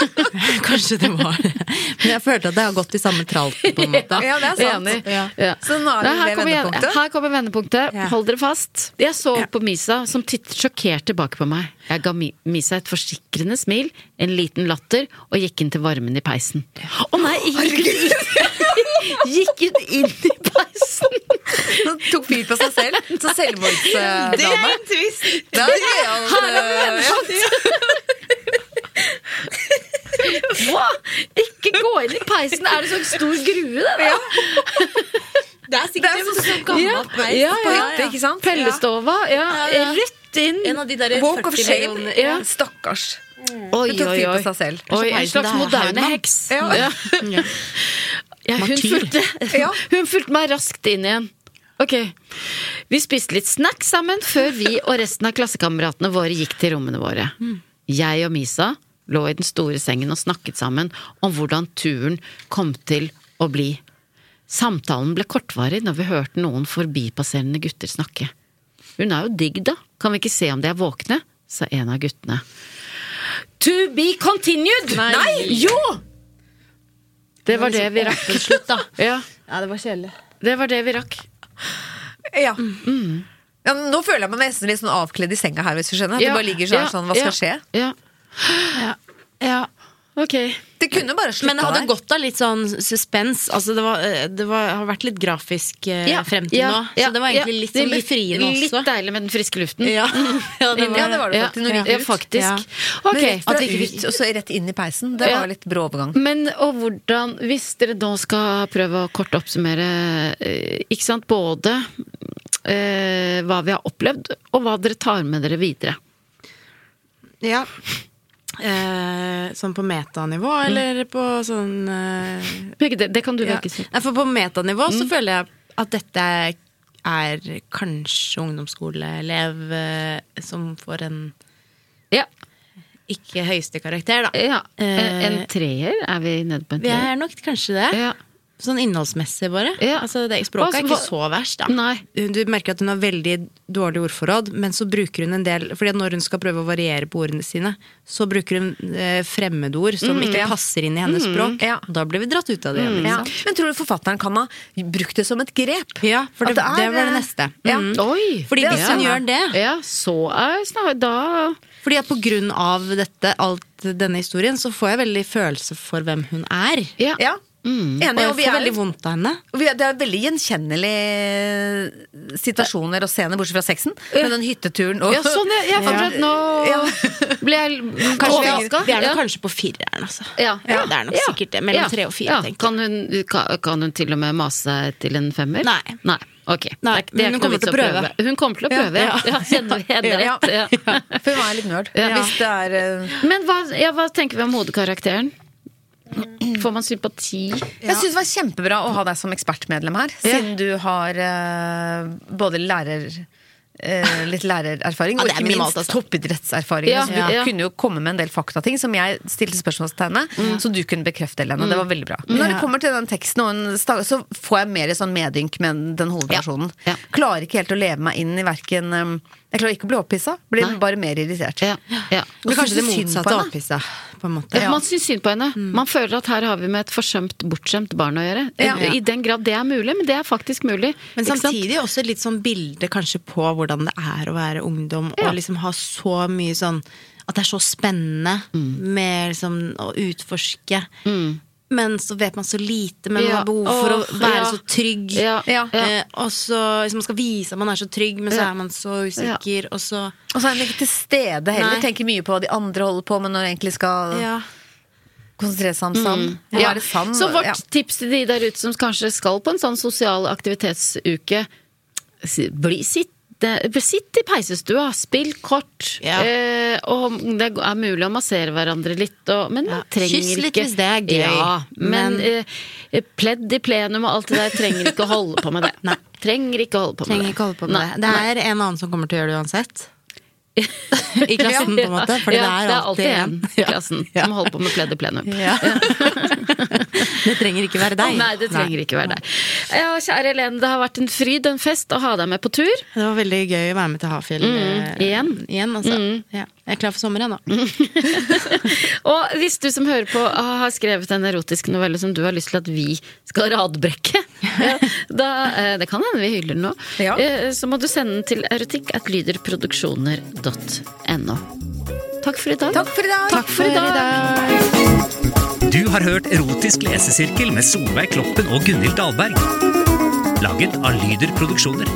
S7: Kanskje det var det. Men jeg følte at det har gått i samme tralten, på en måte.
S3: Ja, det er sant. Enig. Ja.
S4: Så nå er det
S3: Nei, her
S4: det
S3: kommer jeg-
S4: vendepunktet.
S3: Her kommer vendepunktet. Hold dere fast. Jeg så på Misa, som tittet sjokkert tilbake på meg. Jeg ga Mi- Misa et forsikrende smil, en liten latter, og gikk inn til varmen i peisen. Å nei! Gikk, gikk hun inn i peisen?
S4: Nå tok fyr på seg selv. Så
S7: Det er
S4: selvmordsdame.
S7: en twist!
S4: Det er gøyalt.
S3: Her er det Hva? Ikke gå inn i peisen! Er det sånn stor grue, det? da?
S7: Det er sikkert en sånn gammel peis
S3: ja,
S7: på
S3: ja.
S7: hytta, ikke sant?
S3: Pellestova. Ja.
S7: Ja, ja.
S3: Rett inn.
S7: En av de der
S4: Walk of
S7: 40
S4: shame.
S7: millioner-
S3: Ja.
S4: Stakkars.
S3: Oi,
S4: Hun Mm. tok
S3: oi,
S4: fyr på
S3: oi.
S4: seg selv.
S3: Oi,
S7: Kanskje
S3: en
S7: peisen
S3: slags
S7: der
S3: moderne
S7: Haugmann.
S3: heks.
S4: Ja.
S3: Ja. Ja, hun,
S7: Martyr.
S3: fulgte,
S4: Ja.
S3: hun fulgte meg raskt inn igjen. Ok. Vi spiste litt snacks sammen før vi og resten av klassekameratene våre gikk til rommene våre.
S4: Mm.
S3: Jeg og Misa lå i den store sengen og snakket sammen om hvordan turen kom til å bli. Samtalen ble kortvarig når vi hørte noen forbipasserende gutter snakke. Hun er jo digg, da. Kan vi ikke se om de er våkne? sa en av guttene. To be continued! Nei! Jo! Det var det vi rakk. Slutt, da. Ja.
S7: Ja, det var kjedelig.
S3: Det var det vi rakk.
S4: Ja. Mm. Ja, men nå føler jeg meg nesten litt sånn avkledd i senga her, hvis du skjønner. At
S3: Ja,
S4: du bare ligger sånn,
S3: ja,
S4: her, sånn hva skal skje?
S3: ja, Ja.
S7: Ja.
S3: Ok.
S4: Det kunne bare slutta
S7: Men det hadde
S4: der.
S7: gått av litt sånn suspens. Altså det, var, eh, det var, har vært litt grafisk eh,
S3: Ja,
S7: frem til
S3: ja,
S7: nå.
S3: ja,
S7: Så det var egentlig
S3: ja.
S7: litt sånn
S3: Det ble
S7: befriende også.
S3: Litt deilig med den friske luften.
S7: Ja. ja, det
S4: Ja, det var det
S3: Ja,
S4: faktisk. Når
S3: ja,
S4: det gikk ut.
S3: faktisk.
S7: Ja.
S3: Ok,
S4: Men rett fra
S3: at vi ikke
S4: ut, og så rett inn i peisen. Det
S3: Ja.
S4: var litt brå overgang.
S3: Men og hvordan, hvis dere nå skal prøve å kort oppsummere eh, ikke sant, både eh, hva vi har opplevd, og hva dere tar med dere videre.
S7: Ja. Eh, sånn på metanivå, eller på sånn eh,
S3: Begge deler. Mm. Det kan du
S7: ja.
S3: velge selv.
S7: Nei, For på metanivå
S3: Mm.
S7: så føler jeg at dette er kanskje ungdomsskoleelev eh, som får en
S3: Ja.
S7: ikke høyeste karakter, da.
S3: ja.
S7: Eh,
S3: En treer? Er vi nede på en
S7: Vi
S3: treer?
S7: er nok kanskje det.
S3: Ja.
S7: Sånn innholdsmessig, bare.
S3: Ja.
S7: Altså, det, språket er
S3: Hva-
S7: ikke så verst, da.
S3: Nei.
S7: Du merker at hun har veldig dårlig ordforråd, men så bruker hun en del Fordi at når hun skal prøve å variere på ordene sine, så bruker hun eh, fremmedord som ikke passer inn i hennes språk.
S4: Ja. Mm.
S7: Da blir vi dratt ut av det
S3: Mm.
S7: igjen.
S4: Ja.
S7: Liksom.
S4: Men tror du forfatteren kan ha brukt det som et grep?
S7: Ja, for det,
S4: At
S7: det, var
S4: eh,
S7: det neste.
S4: Ja.
S7: Mm.
S3: Oi!
S7: Fordi
S4: Det er
S7: hvis hun
S4: spennende.
S7: gjør det
S3: Ja, så er snar- Da
S7: Fordi at på grunn av dette, alt denne historien, så får jeg veldig følelse for hvem hun er.
S3: Ja.
S4: Ja.
S7: Og
S3: Mm.
S4: Enig.
S7: jeg
S4: Og vi
S7: får
S4: er,
S7: veldig vondt av henne.
S4: og vi er, det er veldig gjenkjennelige situasjoner og scener, bortsett fra sexen. Med den hytteturen og
S3: Ja, sånn, ja. Jeg fant ut nå ble jeg
S7: Kanskje vi, er-
S3: overrasket.
S7: vi er
S3: Ja.
S7: nok kanskje på fireren, altså.
S3: Ja.
S7: Ja, det er nok
S3: Ja.
S7: sikkert det. Mellom
S3: Ja.
S7: tre og fire,
S3: Ja.
S7: tenker jeg.
S3: Kan hun, ka- kan hun til og med mase seg til en femmer?
S7: Nei.
S3: Nei. Ok.
S7: Nei,
S3: Det er- det er ikke
S7: men hun
S3: noe
S7: kommer
S3: vits
S7: til å prøve.
S3: Hun kommer til å prøve, ja. ja. Kjenner vi henne
S4: Ja.
S3: rett? Ja.
S4: For hun er litt nerd.
S3: Ja.
S4: Hvis det er eh,
S3: Men hva, ja, hva tenker vi om hodekarakteren? Får man sympati?
S4: Jeg syns det var kjempebra å ha deg som ekspertmedlem her, siden du har eh, både lærer eh, litt lærererfaring
S7: Ja,
S4: og
S7: det er
S4: ikke
S7: minimalt,
S4: minst
S7: altså.
S4: toppidrettserfaring.
S3: Ja,
S4: så du
S3: ja.
S4: kunne jo komme med en del faktating som jeg stilte spørsmålstegn ved, så du kunne bekrefte Helene. Det var veldig bra. Men når det kommer til den teksten, og en sta- så får jeg mer sånn medynk med den hovedpersonen.
S3: Ja. Ja.
S4: Klarer ikke helt å leve meg inn i verken Jeg klarer ikke å bli opphissa, blir
S3: Nei.
S4: bare mer irritert.
S3: Ja. ja.
S4: Og
S7: Men
S4: så
S7: kanskje det
S4: synes jeg synd på
S7: motsatte
S4: henne.
S7: av opphissa, på en måte.
S3: Man syns synd på henne.
S7: Mm.
S3: Man føler at her har vi med et forsømt, bortskjemt barn å gjøre.
S7: Ja.
S3: I den grad det er mulig, men det er faktisk mulig.
S7: Men
S3: Ikke sant?
S7: samtidig også litt sånn bilde kanskje på hvordan det er å være ungdom,
S3: Ja.
S7: og liksom ha så mye sånn At det er så spennende med liksom å utforske. Mm. Men så vet man så lite, men man
S3: Ja.
S7: har behov for
S3: Åh,
S7: å være
S3: ja.
S7: så trygg.
S3: Ja. Ja.
S7: Eh, og så liksom, Man skal vise at man er så trygg, men så
S4: Ja.
S7: er man så usikker, og så
S4: Og så er hun ikke til stede heller.
S7: Nei.
S4: Tenker mye på hva de andre holder på med når hun egentlig skal konsentrere seg om sand.
S3: Mm. Ja.
S4: Være sann,
S3: Så vårt
S4: ja.
S3: tips til de der ute som kanskje skal på en sånn sosial aktivitetsuke, si- bli sitt. Sitt i peisestua, spill kort. Eh, og om det er mulig å massere hverandre litt. Og, men man trenger
S7: Kyss litt
S3: ikke
S7: hvis det er gøy.
S3: Ja, men,
S7: Men-
S3: eh, pledd i plenum og alt det der trenger ikke å holde på med det. Trenger ikke å holde på med
S7: Trenger
S3: det.
S7: ikke holde på med
S3: Nei,
S7: det. Det er en annen som kommer til å gjøre det uansett. I klassen, på en måte. Fordi
S3: ja,
S7: det er alltid en.
S3: i klassen som holder på med pledd i plenum.
S7: Det trenger ikke være deg.
S3: Nei, det trenger ikke være deg. Ja, kjære Helene, det har vært en fryd og en fest å ha deg med på tur.
S7: Det var veldig gøy å være med til Hafjell
S3: Mm,
S7: eh,
S3: igjen.
S7: igjen, altså. Mm. Ja. Jeg er klar for sommeren, jeg, nå.
S3: Og hvis du som hører på ah, har skrevet en erotisk novelle som du har lyst til at vi skal radbrekke, da, eh, det kan hende vi hyller den nå, eh, så må du sende den til erotikk.lyderproduksjoner.no. Takk for i dag. Takk
S4: for i dag.
S3: Takk for i dag.
S5: Du har hørt Erotisk lesesirkel med Solveig Kloppen og Gunhild Dahlberg. Laget av Lyder Produksjoner.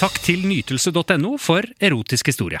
S5: Takk til nytelse.no for erotisk historie.